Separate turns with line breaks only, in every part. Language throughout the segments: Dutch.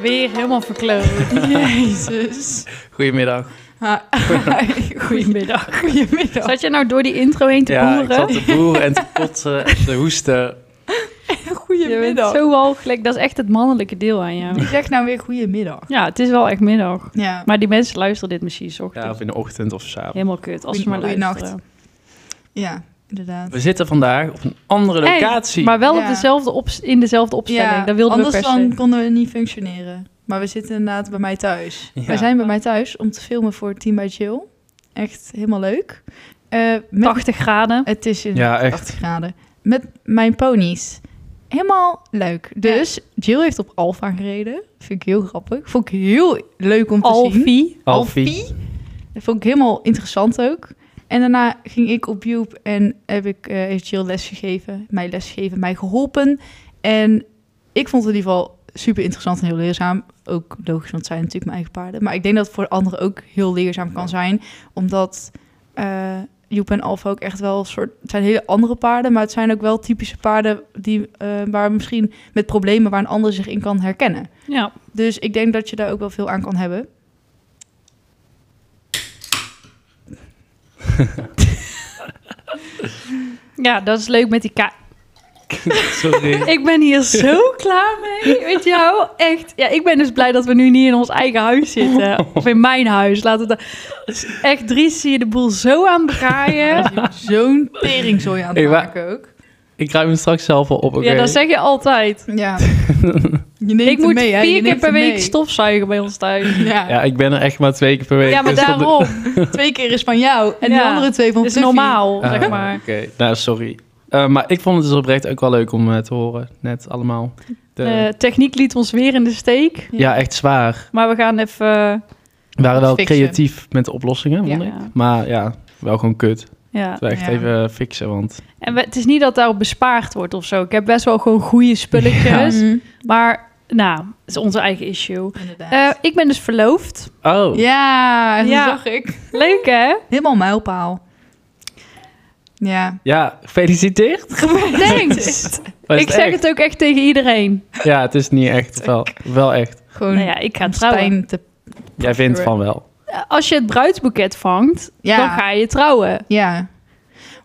Weer helemaal verkloot. Jezus.
Goedemiddag.
Ha, Goedemiddag. Goedemiddag.
Zat je nou door die intro heen te
ja, ik
boeren?
zat te boeren en te kotsen en te hoesten.
Je bent
Goedemiddag.
zo walgelijk. Dat is echt het mannelijke deel aan jou.
Ik zeg nou weer goedemiddag.
Ja, het is wel echt middag.
Ja.
Maar die mensen luisteren dit misschien 's
Ja,
ochtends.
of in de ochtend of s'avonds.
Helemaal kut, als ze maar
Goeie-
luisteren.
Ja, inderdaad.
We zitten vandaag op een andere
Hey,
locatie.
Maar wel
Ja.
op dezelfde ops- in dezelfde opstelling.
Ja,
dat wilden we
anders
per se.
dan konden we niet functioneren. Maar we zitten inderdaad bij mij thuis.
Ja.
We zijn bij mij thuis om te filmen voor Team by Chill. Echt helemaal leuk. Eh, met-
80 graden.
Het is in
Ja, echt.
80 graden. Met mijn ponies. Helemaal leuk. Dus Jill heeft op Alfa gereden. Vind ik heel grappig. Vond ik heel leuk om te zien.
Alfie.
Alfie.
Dat vond ik helemaal interessant ook. En daarna ging ik op Joep en heb ik, eh heeft Jill les gegeven. Mij les gegeven, mij geholpen. En ik vond het in ieder geval super interessant en heel leerzaam. Ook logisch, want het zijn natuurlijk mijn eigen paarden. Maar ik denk dat het voor anderen ook heel leerzaam kan zijn. Omdat eh, Joep en Alfa ook echt wel een soort... Het zijn hele andere paarden, maar het zijn ook wel typische paarden... Die, eh, waar misschien met problemen waar een ander zich in kan herkennen.
Ja.
Dus ik denk dat je daar ook wel veel aan kan hebben.
ja, dat is leuk met die ka...
Sorry.
Ik ben hier zo klaar mee, met jou. Echt. Ja, ik ben dus blij dat we nu niet in ons eigen huis zitten. Of in mijn huis. Laat het dus echt, Dries, zie je de boel zo aan het draaien.
Zo'n teringzooi aan het
Hey, wa-
maken ook.
ik ruim hem straks zelf al op. oké.
Ja, dat zeg je altijd.
Ja. Je neemt
Ik
hem
moet
mee, hè? Je
vier keer
neemt
per
hem
week
mee.
stofzuigen bij ons thuis.
Ja.
Ja, ik ben er echt maar twee keer per week.
Ja, maar
dus dat-
daarom.
twee keer is van jou en de
Ja.
andere twee van
Dat is
Fluffy.
normaal,
Ah,
zeg maar.
Oké, nou sorry. Eh, maar ik vond het dus oprecht ook wel leuk om eh, te horen. Net allemaal. De-
Eh, techniek liet ons weer in de steek.
ja, echt zwaar.
Maar we gaan even... eh,
We waren wel
Fixen.
creatief met de oplossingen, vond
Ja.
ik. Maar ja, wel gewoon kut.
ja.
We echt
Ja.
even fixen, want...
En we- het is niet dat daarop bespaard wordt of zo. Ik heb best wel gewoon goede spulletjes.
Mhm.
Maar, nou, het is onze eigen issue.
Inderdaad.
Eh, ik ben dus verloofd.
Oh,
ja, dat
Ja.
zag ik.
Leuk, hè?
Helemaal mijlpaal. Ja.
ja, gefeliciteerd.
Thanks.
Maar is
ik zeg
echt?
het ook echt tegen iedereen.
Ja, het is niet echt. Wel, wel echt.
Gewoon
Nou ja, ik ga
om
trouwen.
Stijn te...
Jij vindt van wel.
Als je het bruidsboeket vangt,
Ja.
dan ga je trouwen.
Ja.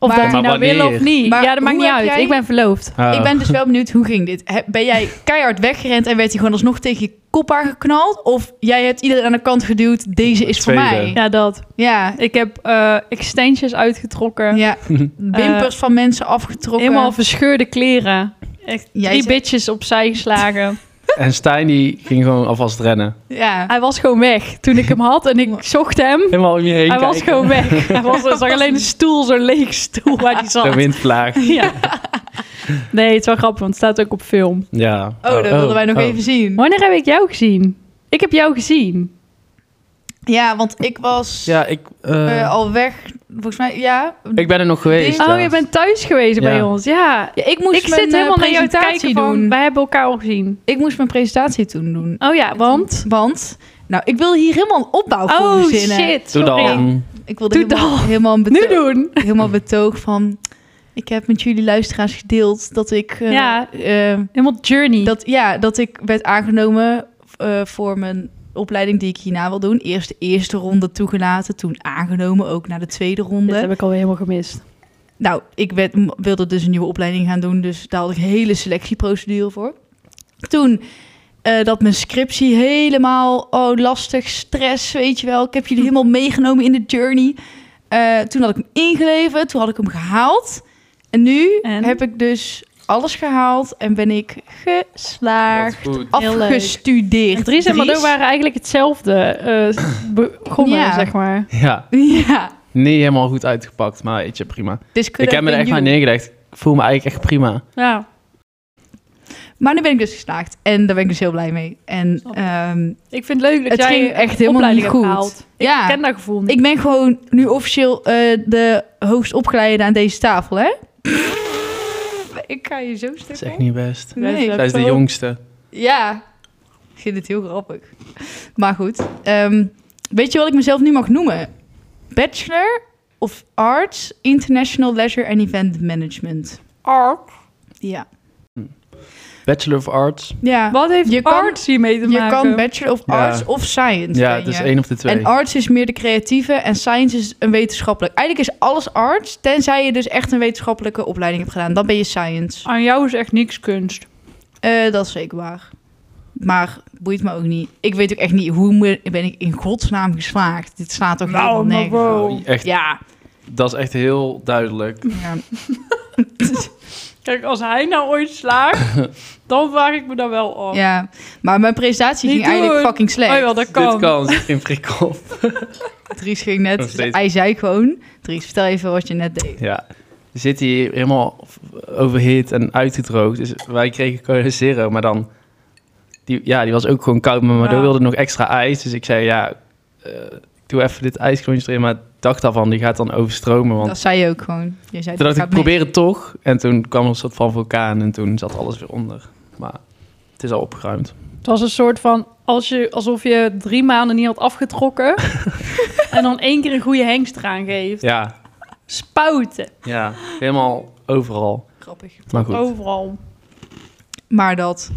Of
Maar-
dat je nou
Maar
wil
wanneer?
of niet.
Maar
ja, dat maakt
hoe
niet
heb
uit.
jij-
Ik ben verloofd.
Oh.
Ik ben dus wel benieuwd, hoe ging dit? He- Ben jij keihard weggerend en werd hij gewoon alsnog tegen je kop aangeknald? Of jij hebt iedereen aan de kant geduwd, deze is voor
Tweede.
mij?
Ja, dat.
Ja.
Ik heb eh, extensions uitgetrokken.
Ja. Wimpers van mensen afgetrokken.
Helemaal verscheurde kleren. Echt
Jij
drie
zei-
bitches opzij geslagen.
En Stijn die ging gewoon alvast rennen.
Ja.
Hij was gewoon weg. Toen ik hem had en ik zocht hem,
Helemaal om je heen
hij
kijken.
was gewoon weg. Hij was, er zag alleen een stoel, zo'n leeg stoel waar hij
De
zat.
windvlaag.
Ja. Nee, het is wel grappig, want het staat ook op film.
Ja.
Oh, dat wilden wij nog
oh.
even zien.
Wanneer heb ik jou gezien? Ik heb jou gezien. Oh,
Ja, want ik was
Ja, ik, eh,
eh, al weg. Volgens mij, ja.
ik ben er nog geweest.
Oh,
ja.
je bent thuis geweest bij
Ja.
ons. Ja.
Ja, ik moest
ik
mijn
zit helemaal
eh,
naar jou te
presentatie
kijken van,
doen.
wij hebben elkaar al gezien.
Ik moest mijn presentatie toen doen.
Oh ja, want...
Want, nou, ik wil hier helemaal een opbouw voor
Oh
verzinnen.
shit,
Doe
sorry.
dan.
Ik wilde
Doe
helemaal,
dan.
helemaal, een
Nu
betoog,
doen.
helemaal betoog van... Ik heb met jullie luisteraars gedeeld dat ik... eh,
Ja.
eh,
Helemaal journey.
dat, ja, dat ik werd aangenomen eh, voor mijn opleiding die ik hierna wil doen. Eerst de eerste ronde toegelaten, toen aangenomen ook naar de tweede ronde.
Dit heb ik alweer helemaal gemist.
Nou, ik werd, m- wilde dus een nieuwe opleiding gaan doen, dus daar had ik een hele selectieprocedure voor. Toen eh, dat mijn scriptie helemaal, oh lastig, stress, weet je wel. Ik heb jullie helemaal meegenomen in de journey. Eh, toen had ik hem ingeleverd, toen had ik hem gehaald. En nu
En?
heb ik dus alles gehaald en ben ik geslaagd,
Dat is goed.
Heel leuk.
afgestudeerd.
Dries en Mado
Dries?
waren eigenlijk hetzelfde eh, begonnen,
Ja.
zeg maar.
Ja,
Ja,
niet helemaal goed uitgepakt, maar weet je, prima.
dus
ik heb me er echt maar neergelegd. Ik voel me eigenlijk echt prima.
Ja.
Maar nu ben ik dus geslaagd en daar ben ik dus heel blij mee. En
Snap ik.
ehm,
Ik vind het leuk dat
Het
jij
ging echt helemaal
opleiding
niet
hebt
goed.
gehaald.
ja.
Ik ken dat gevoel niet.
Ik ben gewoon nu officieel eh, de hoogst opgeleide aan deze tafel, hè? Ik ga je zo
Dat is
stuk
echt
op.
niet best.
Nee.
Zij is de jongste.
Ja. Ik vind het heel grappig. Maar goed. ehm, weet je wat ik mezelf nu mag noemen? Bachelor of Arts
Ah.
International Leisure and Event Management.
Ark.
Ja.
Bachelor of Arts.
Ja.
Wat heeft
Je
je
kan-
arts hiermee te
Je
maken?
kan Bachelor of
Ja.
Arts of Science.
Ja,
ben
het is
je.
één of de twee.
En arts is meer de creatieve en science is een wetenschappelijk. Eigenlijk is alles arts, tenzij je dus echt een wetenschappelijke opleiding hebt gedaan. Dan ben je science.
Aan jou is echt niks kunst.
Eh, dat is zeker waar. Maar boeit me ook niet. Ik weet ook echt niet hoe me- ben ik in godsnaam geslaagd. Dit slaat toch
Nou,
helemaal
maar
nergens.
wow.
op?
Nou, echt,
Ja.
Dat is echt heel duidelijk.
ja.
Kijk, als hij nou ooit slaagt, dan vraag ik me daar wel af.
Ja, maar mijn presentatie
Niet
ging eigenlijk
doen.
fucking slecht.
Oh ja, dat kan.
Dit kan, zit geen prik op.
Dries ging
Nog
net,
steeds.
hij zei gewoon... Dries, vertel even wat je net deed.
Ja. We zitten hier helemaal overhit en uitgedroogd. Dus wij kregen cola zero, maar dan... Die, ja, die was ook gewoon koud, maar Mado
Ja.
wilde nog extra ijs. Dus ik zei, ja, eh, ik doe even dit ijsklontje erin. Maar ik dacht daarvan, die gaat dan overstromen. Want
Dat zei je ook gewoon. Je zei,
toen dacht
dat
ik, probeer het toch. En toen kwam er een soort van vulkaan en toen zat alles weer onder. Maar het is al opgeruimd.
Het was een soort van als je, alsof je drie maanden niet had afgetrokken. en dan één keer een goede hengst eraan geeft.
Ja,
Spuiten.
ja. helemaal overal.
Grappig.
Maar goed.
Overal.
Maar dat...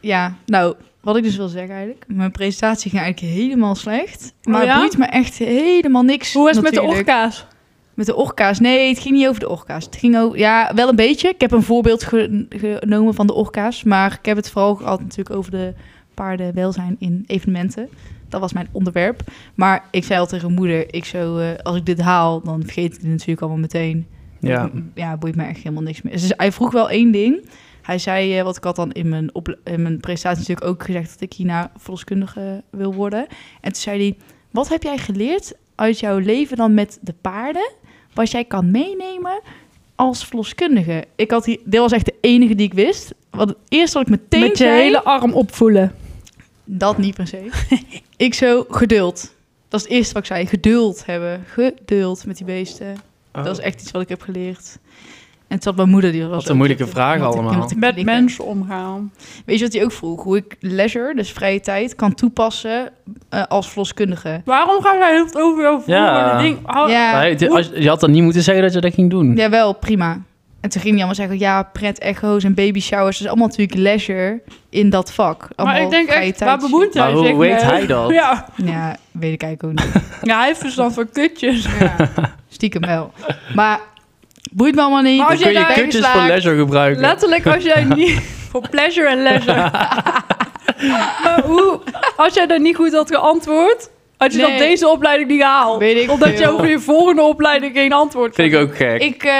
Ja, nou, wat ik dus wil zeggen eigenlijk... Mijn presentatie ging eigenlijk helemaal slecht. Maar
Oh ja?
het boeit me echt helemaal niks
Hoe is het met de
natuurlijk.
orka's?
Met de orka's? Nee, het ging niet over de orka's. Het ging over, ja, wel een beetje. Ik heb een voorbeeld ge- genomen van de orka's. Maar ik heb het vooral gehad natuurlijk over de paardenwelzijn in evenementen. Dat was mijn onderwerp. Maar ik zei al tegen mijn moeder, ik zo, eh, als ik dit haal, dan vergeet ik het natuurlijk allemaal meteen. mm,
Ja.
Ja, boeit me echt helemaal niks meer. Dus hij vroeg wel één ding. Hij zei, eh, wat ik had dan in mijn, op, in mijn presentatie natuurlijk ook gezegd... dat ik hierna verloskundige wil worden. En toen zei hij, wat heb jij geleerd uit jouw leven dan met de paarden... wat jij kan meenemen als verloskundige? Ik had hier, dit was echt de enige die ik wist. Want het eerste wat ik meteen
Met je
zei...
hele arm opvoelen.
Dat niet per se. ik zo, geduld. Dat is het eerste wat ik zei. Geduld hebben. Geduld met die beesten. Dat is echt iets wat ik heb geleerd. En het zat mijn moeder die was.
Oh. Wat een
ook
moeilijke
dat-
vraag
dat ik-
allemaal.
dat ik
Met
klikken.
mensen omgaan.
Weet je wat hij ook vroeg? Hoe ik leisure, dus vrije tijd, kan toepassen eh, als verloskundige.
Waarom gaan zij het over jouw
Ja.
voorwoorden ding? Hou-
ja,
Nee, dit- als- je had dan niet moeten zeggen dat je dat ging doen.
jawel, prima. En toen ging hij allemaal zeggen, ja, pret, echo's en baby showers. Dat is allemaal natuurlijk leisure in dat vak.
Maar
Allemaal
ik denk
vrije
echt, waar
tijd.
bemoeit hij
Maar hoe
zich
weet
mee?
hij dat?
Ja.
Ja, weet ik eigenlijk ook niet.
ja, hij heeft verstand van kutjes.
Ja, stiekem wel. Maar boeit me allemaal niet.
Maar
Dan
als
kun
jij
je
daar
kutjes
geslaagd-
voor leisure gebruiken.
Letterlijk als jij niet... voor pleasure en leisure. maar hoe... Als jij daar niet goed had geantwoord... had je
Nee.
dan deze opleiding niet gehaald.
Weet ik
Omdat je
veel.
over je volgende opleiding geen antwoord
Vind ik ook gek.
Ik, eh,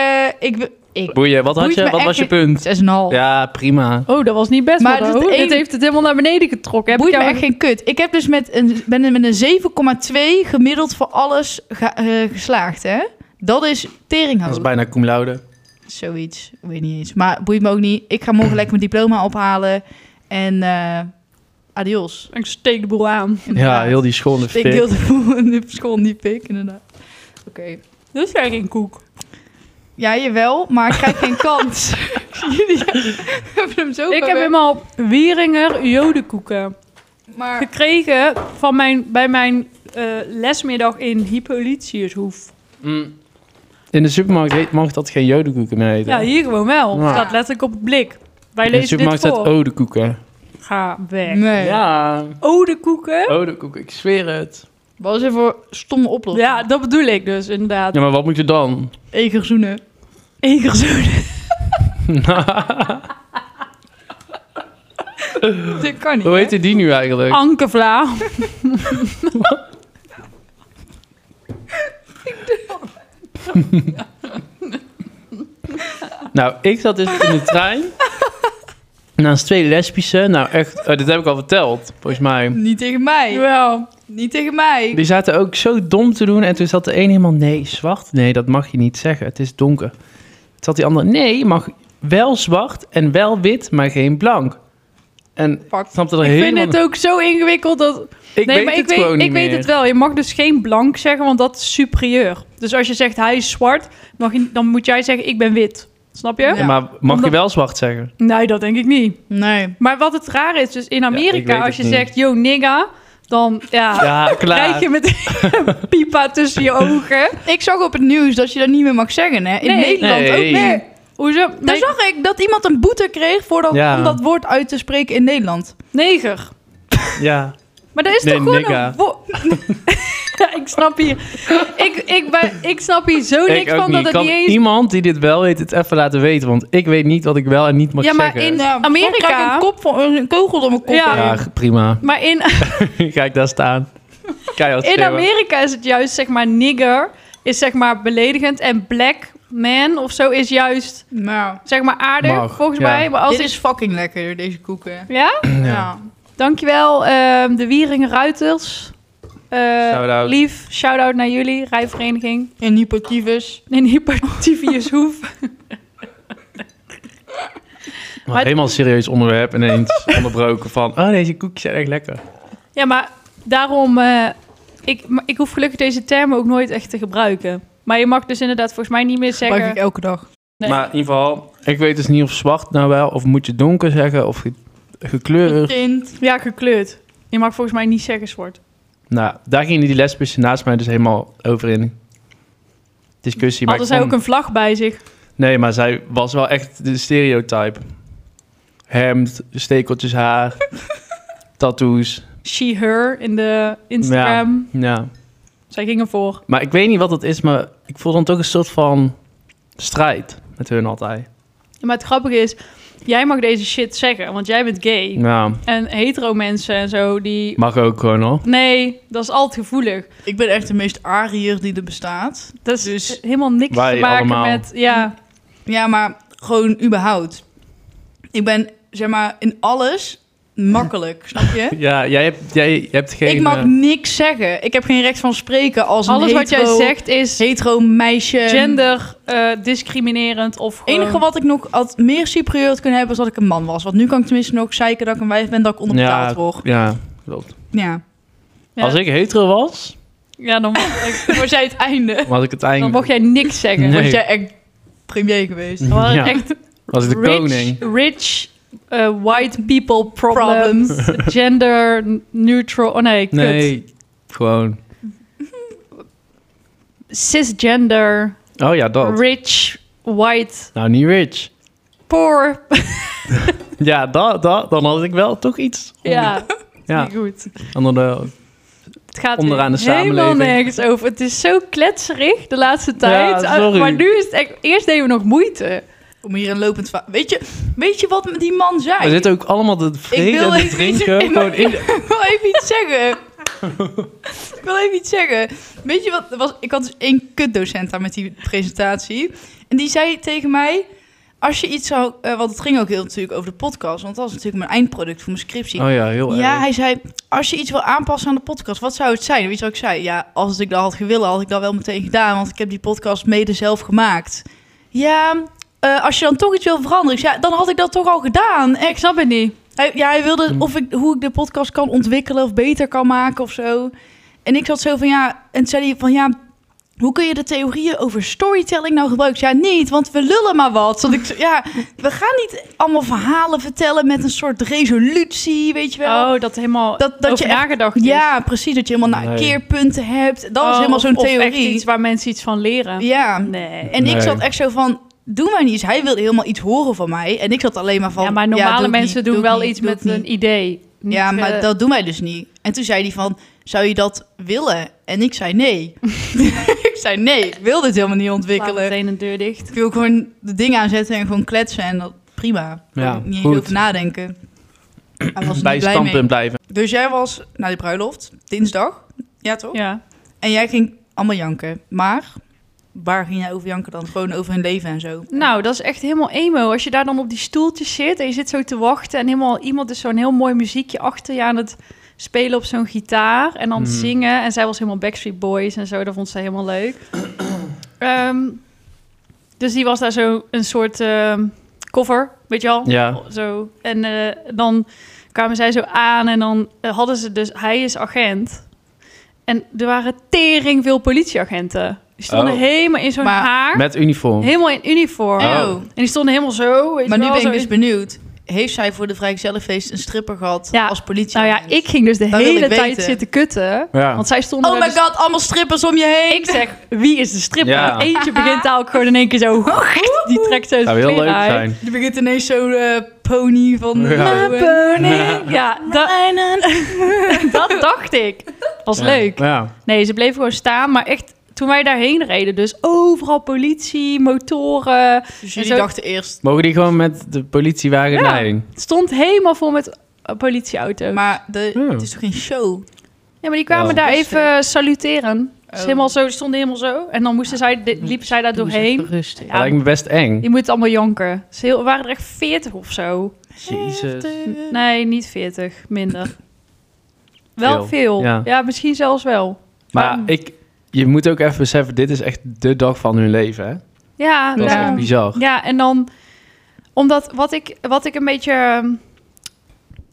ik, wil- ik,
Boeien, wat had
Boeit
je?
me
Wat was je
echt
punt?
6,5.
Ja, prima.
Oh, dat was niet best,
Maar
maar
dat is één-
Dit heeft het helemaal naar beneden getrokken. Heb
Boeit
ik
me
jou
echt geen kut. Ik heb dus met een, ben met een 7,2 gemiddeld voor alles ga- eh, geslaagd, hè? Dat is
Dat is
teringhoog.
bijna cum laude.
Zoiets, ik weet niet eens. Maar boeit me ook niet. Ik ga morgen lekker mijn diploma ophalen. En eh, adios.
Ik steek de boel aan.
Ja, heel die schone
Ik
fik.
deel de boel in de school niet pik, inderdaad. Oké.
Dus jij geen koek.
Ja, jawel, maar ik krijg geen kans. Jullie hebben hem
Ik
zo
heb
verwerkt.
helemaal Wieringer jodenkoeken
Maar
gekregen van mijn, bij mijn eh, lesmiddag in Hippolytiushoef.
Mm. In de supermarkt heet- mag dat geen jodenkoeken meer heten.
Ja, hier gewoon wel.
Ja.
staat letterlijk op het blik. Wij
In de
lezen dit
supermarkt staat
voor.
odekoeken.
Ga weg.
nee.
Ja,
Oh, Odekoeken?
odekoeken, ik zweer het.
Wat is er voor stomme oplossing?
Ja, dat bedoel ik dus inderdaad.
Ja, maar wat moet je dan?
Egerzoenen.
Egerzoenen.
Dat kan niet.
Hoe heet die nu eigenlijk?
Ah. Ankervla.
Nou, ik zat dus in de trein. Naast twee lesbische. Nou, echt, eh, dit heb ik al verteld, volgens mij.
Niet tegen mij.
Jawel.
Niet tegen mij.
Die zaten ook zo dom te doen. En toen zat de een helemaal, nee, zwart. Nee, dat mag je niet zeggen. Het is donker. Toen zat die andere, nee, je mag wel zwart en wel wit, maar geen blank. En
Fuck.
ik snapte er
Ik vind
helemaal...
het ook zo ingewikkeld dat...
ik
nee,
weet
maar
het
ik, weet,
gewoon
ik
niet
weet
meer.
het wel. Je mag dus geen blank zeggen, want dat is superieur. Dus als je zegt hij is zwart, mag je, dan moet jij zeggen ik ben wit. Snap je?
Ja.
Ja, maar mag je
Omdat-
wel zwart zeggen?
Nee, dat denk ik niet.
Nee.
Maar wat het raar is, dus in
ik
Amerika,
weet
als je
het niet.
zegt yo nigga, dan ja,
Ja, klaar.
krijg je met een pipa tussen je ogen.
Ik zag op het nieuws dat je dat niet meer mag zeggen, hè? In
Nee.
Nederland
Nee.
ook niet.
Hoezo?
Daar zag ik dat iemand een boete kreeg voor dat,
Ja.
om dat woord uit te spreken in Nederland.
Neger.
Ja.
Maar dat is
Nee,
toch gewoon
nigga.
een wo- Ja, ik snap hier... Ik, ik, ben, ik snap hier zo niks
Ik
van
ook
dat
niet.
het
Kan
niet eens...
iemand die dit wel weet het even laten weten? Want ik weet niet wat ik wel en niet mag
Ja, maar
zeggen.
in- eh,
Ja,
Amerika-
dan krijg ik een, kop voor, een kogel door mijn kop.
Ja.
heen.
Ja, prima.
Maar in,
Ga ik daar staan. Keihard
in
schreeuwen.
Amerika is het juist, zeg maar, nigger is zeg maar beledigend. En black man of zo is juist,
Nou,
zeg maar, aardig,
Mag,
volgens
ja.
mij. Maar als
dit
is...
is fucking lekker, deze koeken.
Ja?
Ja.
Dankjewel, ehm de Wieringen Ruiters. Eh,
Shout-out.
Lief, shout-out naar jullie, rijvereniging.
En hypotivus.
In Hypertivius Hoef.
Maar helemaal een serieus onderwerp en ineens onderbroken van... Oh, deze koekjes zijn echt lekker.
Ja, maar daarom... eh, ik, maar ik hoef gelukkig deze termen ook nooit echt te gebruiken. Maar je mag dus inderdaad volgens mij niet meer
Pak
zeggen...
ik elke dag.
Nee.
Maar in ieder geval... Ik weet dus niet of zwart nou wel, of moet je donker zeggen, of ge- gekleurd.
Kind.
Ja, gekleurd. Je mag volgens mij niet zeggen zwart.
Nou, daar gingen die lesbische naast mij dus helemaal over in. Discussie. maar
Hadden
ik
zij ook
vond-
een vlag bij zich.
Nee, maar zij was wel echt de stereotype. Hemd, stekeltjes haar, tattoos.
She, her in de Instagram.
Ja.
Zij gingen voor.
Maar ik weet niet wat dat is, maar ik voel dan toch een soort van strijd met hun altijd.
Ja, maar het grappige is... Jij mag deze shit zeggen, want jij bent gay.
Ja,
En hetero mensen en zo, die...
mag ook gewoon hoor.
Nee, dat is altijd gevoelig.
Ik ben echt de meest ariër die er bestaat.
Dat is
Dus-
helemaal niks
Wij
te maken
allemaal.
met... Ja,
Ja, maar gewoon überhaupt. Ik ben, zeg maar, in alles makkelijk, snap je?
Ja, jij hebt, jij hebt geen...
ik mag
eh,
niks zeggen. Ik heb geen recht van spreken als een
alles wat jij
hetero-
zegt is...
hetero meisje.
gender eh, discriminerend of
Het
gewoon...
Ehm.
enige wat ik nog had meer superieur had kunnen hebben is dat ik een man was. Want nu kan ik tenminste nog zeiken dat ik een wijf ben, dat ik onderbetaald
ja,
word.
Ja, klopt.
Ja.
Ja.
Als ik hetero was,
Ja, dan was dan was jij het einde.
was ik het
Dan mocht
eigenlijk...
jij niks zeggen.
Nee.
Was jij echt premier geweest?
Dan was het
Ja.
echt
Was ik de
rich,
koning.
rich eh, white people problems. Gender neutral... Oh nee, kut.
Nee, gewoon...
Cisgender,
Oh ja, dat.
rich, white,
Nou, niet rich.
poor.
Ja, dat, dat, dan had ik wel toch iets. om-
Ja,
ja.
niet goed.
En dan, eh,
Het gaat
Onderaan de
helemaal
samenleving.
nergens over. Het is zo kletserig de laatste tijd. Ah,
sorry.
Maar nu is het echt... Eerst deden we nog moeite.
Om hier een lopend... va- Weet je, weet je wat die man zei?
er zitten ook allemaal de
Ik
vreten
wil
en te
even
drinken.
iets-
gewoon in de-
Ik wil even iets zeggen. ik wil even iets zeggen. Weet je wat? er Was, ik had dus één kutdocent aan met die presentatie. En die zei tegen mij... Als je iets zou... eh, want het ging ook heel natuurlijk over de podcast. Want dat was natuurlijk mijn eindproduct voor mijn scriptie.
Oh ja, heel
ja,
erg.
hij zei... Als je iets wil aanpassen aan de podcast, wat zou het zijn? Weet je wat ik zei? Ja, als ik dat had gewillen, had ik dat wel meteen gedaan. Want ik heb die podcast mede zelf gemaakt. Ja... eh, als je dan toch iets wil veranderen, Ik zei, ja, dan had ik dat toch al gedaan.
Ik snap het niet.
Hij, ja, hij wilde
Hmm.
of ik, hoe ik de podcast kan ontwikkelen of beter kan maken of zo. En ik zat zo van ja, en toen zei hij van ja, hoe kun je de theorieën over storytelling nou gebruiken? Ja, niet, want we lullen maar wat. Want ik, zo- ja, we gaan niet allemaal verhalen vertellen met een soort resolutie, weet je wel.
Oh, dat helemaal
Dat- dat
over
je echt-
nagedacht is.
ja, precies, dat je helemaal naar
Nee.
keerpunten hebt. Dat
Oh,
was helemaal
of-
zo'n
Of echt
theorie.
iets waar mensen iets van leren.
ja,
Nee.
en
Nee.
ik zat echt zo van, doe maar niets. Hij wilde helemaal iets horen van mij en ik zat alleen maar van...
ja, maar normale
doe ik
mensen doen
niet, doe ik
wel
niet,
iets
doe ik
met
niet.
een idee. Niet,
Ja, maar
eh,
dat doen wij dus niet. En toen zei hij van, zou je dat willen? En ik zei nee. ik zei nee, ik wil dit helemaal niet
laat
ontwikkelen.
meteen een deur dicht.
Ik wil gewoon de dingen aanzetten en gewoon kletsen en dat prima.
Ja,
Gewoon niet
goed.
heel over nadenken. Hij was er
Bij
niet blij mee.
standpunt blijven.
Dus jij was naar die bruiloft, dinsdag. Ja, toch?
Ja.
En jij ging allemaal janken. Maar waar ging jij over janken dan? Gewoon over hun leven en zo.
Nou, dat is echt helemaal emo. Als je daar dan op die stoeltjes zit en je zit zo te wachten... en helemaal iemand is zo'n heel mooi muziekje achter je aan het spelen op zo'n gitaar... en dan
Mhm.
zingen. En zij was helemaal Backstreet Boys en zo. Dat vond ze helemaal leuk. Ehm, dus die was daar zo een soort ehm, cover, weet je wel?
Ja.
Zo. En eh, dan kwamen zij zo aan en dan eh, hadden ze dus... Hij is agent. En er waren tering veel politieagenten. Die stonden
Oh.
helemaal in zo'n
Maar
haar.
Met uniform.
Helemaal in uniform.
Oh.
En die stonden helemaal zo. Weet
Maar
je
nu
wel, zo
ben ik dus benieuwd. heeft zij voor de vrijgezellenfeest een stripper gehad
Ja.
als politie?
Nou ja, ik ging dus de
Dat wil
hele
ik
tijd
weten.
zitten kutten.
Ja.
Want zij stonden
Oh
daar
my
dus-
god, allemaal strippers om je heen.
Ik zeg, wie is de stripper?
Ja.
Eentje begint daar ook gewoon in één keer zo...
Oh,
Die trekt zo zijn
Zou heel
kleren
leuk
uit.
zijn.
Die begint ineens zo'n eh, pony van...
Ja.
Nou, eh,
Naponing. Ja, dat,
Mijnen.
dat dacht ik. Was leuk.
Ja.
Nee, ze bleven gewoon staan. Maar echt, toen wij daarheen reden, dus overal politie, motoren.
Dus
En
jullie
zo-
dachten eerst...
Mogen die gewoon met de politiewagen
Ja.
leiding?
Het stond helemaal vol met eh, politieauto's.
Maar de,
Ja.
het is toch geen show?
ja, maar die kwamen
Ja.
daar
Dat is
even saluteren.
Oh. Ah,
Ze helemaal zo, stonden helemaal zo. En dan moesten zij, de- liepen zij daar doorheen.
Rustig.
Dat lijkt me best eng.
Je moet allemaal janken. Ze heel- waren er echt 40 of zo.
Jezus.
Nee, niet 40. Minder. Wel
Veel.
veel. Ja.
Ja.
misschien zelfs wel.
Maar ik, je moet ook even beseffen, dit is echt de dag van hun leven. Hè?
Ja,
Dat is
daarom.
echt bizar.
Ja, en dan omdat wat ik, wat ik een beetje. ehm,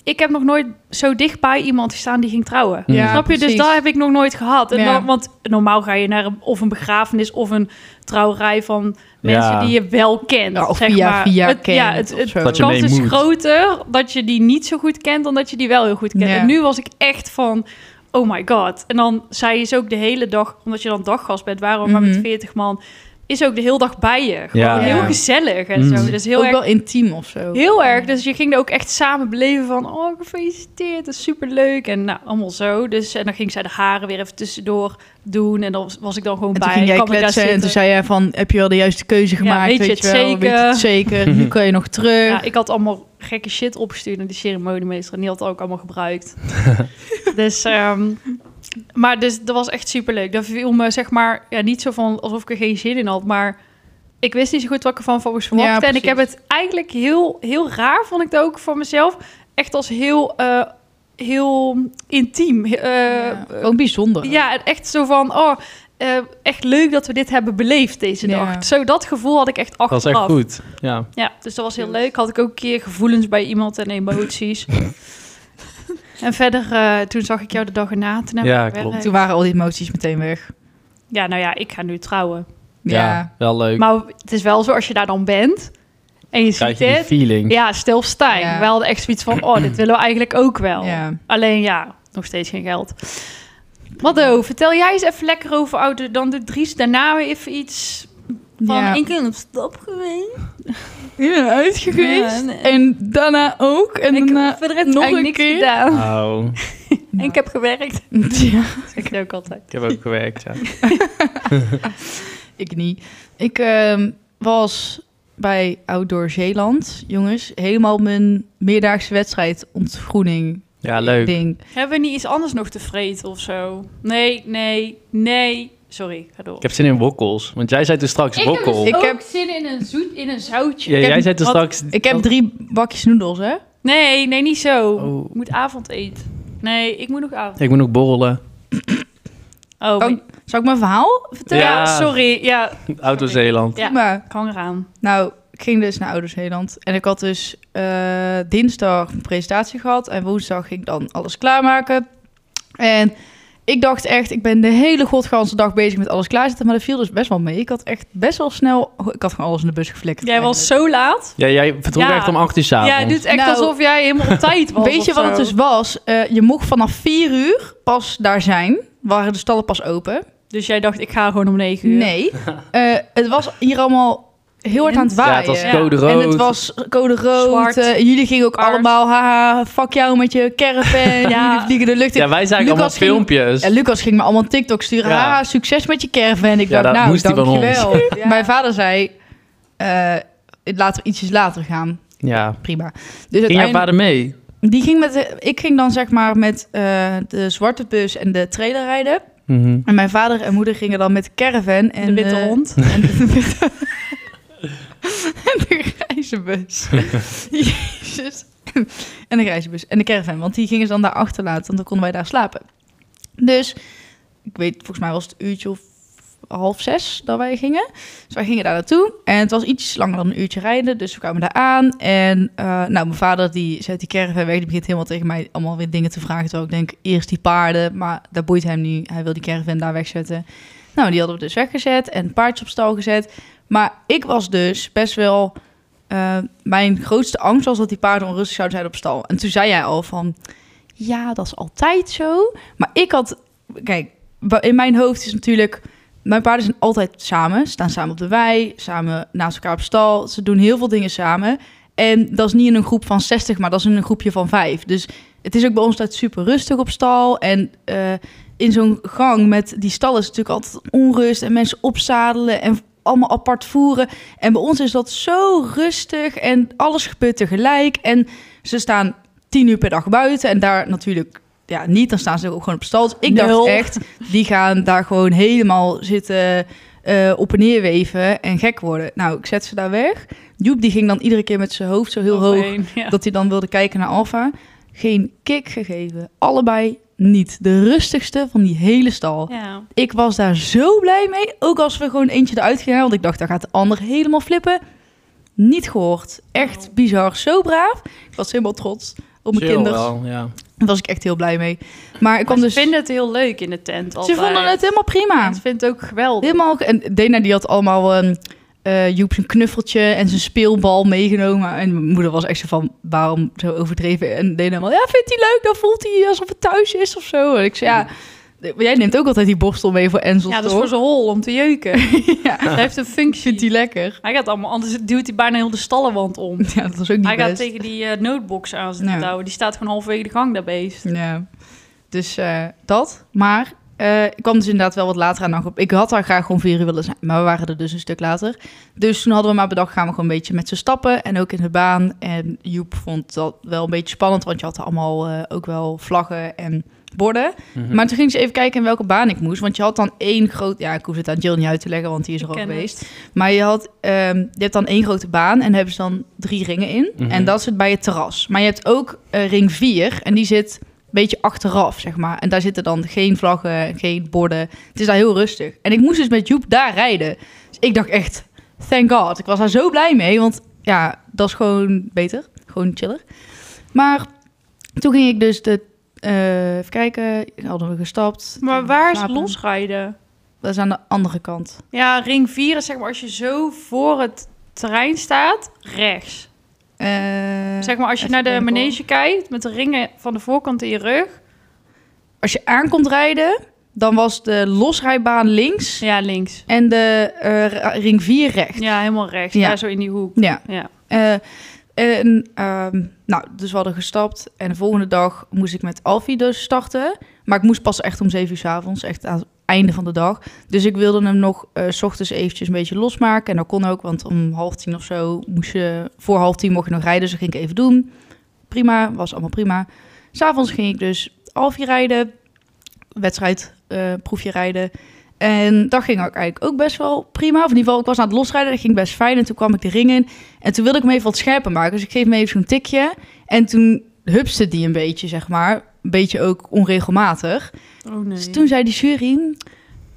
Ik heb nog nooit zo dichtbij iemand gestaan die ging trouwen.
Ja,
Snap je? Dus dat heb ik nog nooit gehad. En
Ja.
dan, want normaal ga je naar een, of een begrafenis of een trouwerij van mensen
Ja.
die je wel kent.
Ja, of
zeg
Nou, via-
maar.
via
het, Ja,
kent
het,
of
het
zo.
Dat je
kans
mee
is
moet.
groter dat je die niet zo goed kent dan dat je die wel heel goed kent.
Ja.
En nu was ik echt van, oh my god. En dan zij is ook de hele dag, omdat je dan daggast bent, waarom maar met
Mhm.
40 man, is ook de hele dag bij je. Gewoon
Ja.
heel
Ja.
gezellig en
Mhm.
zo. Dus heel
Ook
erg,
wel intiem of zo.
heel erg. Dus je ging er ook echt samen beleven van, oh gefeliciteerd, dat is superleuk. En nou, allemaal zo. Dus en dan ging zij de haren weer even tussendoor doen. En dan was- was ik dan gewoon
En
bij.
toen ging jij
kwam ik daar
kletsen en
zitten.
toen zei jij van... heb je wel de juiste keuze gemaakt?
weet je het
wel? Weet je het zeker? Nu kan je nog terug.
Ja, ik had allemaal gekke shit opgestuurd naar de ceremoniemeester. En die had het ook allemaal gebruikt. dus, ehm, maar dus, dat was echt superleuk. Dat viel me, zeg maar, ja, niet zo van alsof ik er geen zin in had. Maar ik wist niet zo goed wat ik ervan van moest
Ja,
verwachten. en ik heb
precies.
het eigenlijk heel, heel raar, vond ik het ook van mezelf. Echt als heel, eh, heel intiem. eh,
Ja, ook bijzonder.
ja, en echt zo van, oh, eh, echt leuk dat we dit hebben beleefd deze
Ja.
dag. Zo dat gevoel had ik echt
Dat
achteraf.
is echt goed. Ja.
Ja, dus dat was heel
Dus.
leuk. Had ik ook een keer gevoelens bij iemand en emoties. en verder, eh, toen zag ik jou de dag erna. Toen heb
Ja,
ik weer-
klopt.
Toen waren al die emoties meteen weg.
Ja, nou ja, ik ga nu trouwen.
Ja. wel leuk.
Maar het is wel zo, als je daar dan bent en je
Krijg
ziet
je die
dit.
feeling.
Ja, stilstijn.
Ja.
We hadden echt zoiets van, oh, dit willen we eigenlijk ook wel.
Ja.
Alleen ja, nog steeds geen geld. Maddo, vertel jij eens even lekker over ouder dan de Dries. Daarna weer even iets van,
Ja.
ik ben op stap geweest.
Ik ben uitgeweest.
Ja, nee.
En daarna ook. En
ik
daarna
heb verder heb ik
nog
eigenlijk
een
niks
keer.
gedaan.
Oh,
En ik heb gewerkt.
Ja,
Dat zeg ik ook altijd.
ik heb ook gewerkt, ja.
ik niet. Ik ehm, was bij Outdoor Zeeland, jongens, helemaal mijn meerdaagse wedstrijd ontgroening
Ja, leuk.
ding.
Hebben we niet iets anders nog te vreten of zo? Nee, nee, nee. Sorry, ga door.
Ik heb zin in wokkels. Want jij zei toen straks wokkel.
Ik heb- dus
zin in een, zoet, in een zoutje.
Ja,
ik heb-
jij zei dus toen
wat-
straks...
Ik heb drie bakjes noedels, hè?
Nee, nee, niet zo.
Oh.
Ik moet avondeten. Nee, ik moet nog avond.
Ik moet nog borrelen.
Oh,
Oh,
maar-
Zal ik mijn verhaal
ja.
vertellen?
sorry. Ja,
Auto Zeeland.
Ja.
Maar,
ik hang eraan.
nou, ik ging dus naar Outdoor Zeeland. En ik had dus eh, dinsdag een presentatie gehad. En woensdag ging ik dan alles klaarmaken. En ik dacht echt, ik ben de hele godganse dag bezig met alles klaarzetten. Maar dat viel dus best wel mee. Ik had echt best wel snel... oh, Ik had gewoon alles in de bus geflikkerd.
Jij was
eigenlijk.
zo laat.
Ja, jij vertrok
Ja.
echt om 8 uur
Jij
s'avonds.
doet echt
Nou.
alsof jij helemaal op tijd was.
Weet je
of
wat
zo.
het dus was? Eh, je mocht vanaf 4 uur pas daar zijn. Waren de stallen pas open?
Dus jij dacht, ik ga gewoon om negen uur.
Nee. Eh, het was hier allemaal heel hard aan het
ja,
waaien.
het was
Ja.
code rood.
En het was code rood.
Zwart.
eh, jullie gingen ook
Paars.
allemaal, haha, fuck jou met je caravan.
Ja.
Jullie vliegen de lucht in.
ja, wij zagen
Lucas
allemaal
ging-
filmpjes.
Ja, Lucas ging me allemaal TikTok sturen.
Ja.
Haha, succes met je caravan. Ik
Ja,
dacht,
dat
nou,
moest hij van
dankjewel.
Ja.
Mijn vader zei, eh, het laten we ietsjes later gaan.
ja.
Prima. Dus
Ging jouw
uiteindelijk-
vader mee?
die ging met, de- ik ging dan zeg maar met eh, de zwarte bus en de trailer rijden.
Mhm.
En mijn vader en moeder gingen dan met de caravan. En,
de witte
eh,
hond.
En de, witte- en de grijze bus. Jezus. En de grijze bus. En de caravan. Want die gingen ze dan daar achterlaten. Want dan konden wij daar slapen. Dus, ik weet, volgens mij was het een uurtje of half zes dat wij gingen. Dus wij gingen daar naartoe. En het was iets langer dan een uurtje rijden. Dus we kwamen daar aan. En eh, nou, mijn vader die zet die caravan weg. Die begint helemaal tegen mij allemaal weer dingen te vragen. Terwijl ik denk, eerst die paarden. Maar dat boeit hem nu. Hij wil die caravan daar wegzetten. Nou, die hadden we dus weggezet. En paardjes op stal gezet. Maar ik was dus best wel... eh, eh, mijn grootste angst was dat die paarden onrustig zouden zijn op stal. En toen zei jij al van, ja, dat is altijd zo. Maar ik had, kijk, wa- in mijn hoofd is natuurlijk... Mijn paarden zijn altijd samen, staan samen op de wei, samen naast elkaar op stal. Ze doen heel veel dingen samen. En dat is niet in een groep van 60, maar dat is in een groepje van 5. Dus het is ook bij ons altijd super rustig op stal. En eh, in zo'n gang met die stallen is natuurlijk altijd onrust. En mensen opzadelen en allemaal apart voeren. En bij ons is dat zo rustig en alles gebeurt tegelijk. En ze staan tien uur per dag buiten. En daar natuurlijk ja, niet, dan staan ze ook gewoon op stal. Dus ik
Nul.
dacht echt, die gaan daar gewoon helemaal zitten eh, op en neer weven en gek worden. Nou, ik zet ze daar weg. Joep die ging dan iedere keer met zijn hoofd zo heel hoog
Overheen, ja.
dat hij dan wilde kijken naar Alfa. Geen kick gegeven. Allebei niet. De rustigste van die hele stal.
Ja.
Ik was daar zo blij mee. Ook als we gewoon eentje eruit gingen. Want ik dacht, daar gaat de ander helemaal flippen. Niet gehoord. Echt
Wauw.
bizar. Zo braaf. Ik was helemaal trots op mijn
Chill
kinderen. Daar
wel, ja.
was ik echt heel blij mee. Maar ik
Maar
kwam
ze
dus...
vinden het heel leuk in de tent
Ze
altijd.
vonden het helemaal prima.
En Ze vindt het ook geweldig.
Helemaal... En Dena die had allemaal... ehm eh, Joep zijn knuffeltje en zijn speelbal meegenomen. En mijn moeder was echt zo van, waarom zo overdreven? En Dena wel, ja, vindt hij leuk? Dan voelt hij alsof het thuis is of zo. En ik zei, ja... maar Jij neemt ook altijd die borstel mee voor Enzel,
Ja, dat is
toch?
voor zijn hol om te jeuken.
Ja.
Hij heeft een functie.
Vindt hij lekker?
Hij gaat allemaal, anders duwt hij bijna heel de stallenwand om.
Ja, dat was ook niet
Hij gaat
best.
tegen die eh, noodbox aan zitten
Ja.
touwen. Die staat gewoon halverwege de gang daar beest.
Ja. Dus eh, dat. Maar eh, ik kwam dus inderdaad wel wat later aan de dag op. Ik had daar graag gewoon vier uur willen zijn, maar we waren er dus een stuk later. Dus toen hadden we maar bedacht, gaan we gewoon een beetje met z'n stappen en ook in de baan. En Joep vond dat wel een beetje spannend, want je had allemaal eh, ook wel vlaggen en borden.
Mhm.
Maar toen ging ze even kijken in welke baan ik moest, want je had dan één groot... Ja, ik hoef het aan Jill niet uit te leggen, want die is er al
Ken
geweest.
het.
Maar je, had, ehm, je hebt dan één grote baan en daar hebben ze dan drie ringen in.
Mhm.
En dat zit bij het terras. Maar je hebt ook eh, ring 4 en die zit een beetje achteraf, zeg maar. En daar zitten dan geen vlaggen, geen borden. Het is daar heel rustig. En ik moest dus met Joep daar rijden. Dus ik dacht echt, thank god. Ik was daar zo blij mee, want ja, dat is gewoon beter. Gewoon chiller. Maar toen ging ik dus de... eh, even kijken, hadden we gestapt.
Maar waar is
Slapen.
losrijden?
Dat is aan de andere kant.
Ja, ring 4 is zeg maar als je zo voor het terrein staat, rechts.
Eh,
Zeg maar als je
even
naar de
denken, hoor.
manege kijkt met de ringen van de voorkant in je rug.
Als je aankomt rijden, dan was de losrijbaan links
Ja, links.
en de eh, ra- ring 4 rechts.
Ja, helemaal rechts.
Ja.
Ja, zo in die hoek.
Ja.
Ja.
Eh, en, ehm, nou, dus we hadden gestapt. En de volgende dag moest ik met Alfie dus starten. Maar ik moest pas echt om 7 uur 's avonds, echt aan het einde van de dag. Dus ik wilde hem nog eh, s ochtends eventjes een beetje losmaken. En dat kon ook, want om half tien of zo moest je... Voor half tien mocht je nog rijden, dus dat ging ik even doen. Prima, was allemaal prima. S'avonds ging ik dus Alfie rijden. Wedstrijd, eh, proefje rijden. En dat ging ook eigenlijk ook best wel prima. Of in ieder geval, ik was aan het losrijden. Dat ging best fijn. En toen kwam ik de ring in. En toen wilde ik hem even wat scherper maken. Dus ik geef hem even zo'n tikje. En toen hupste die een beetje, zeg maar. Een beetje ook onregelmatig.
Oh nee.
Dus toen zei die jury,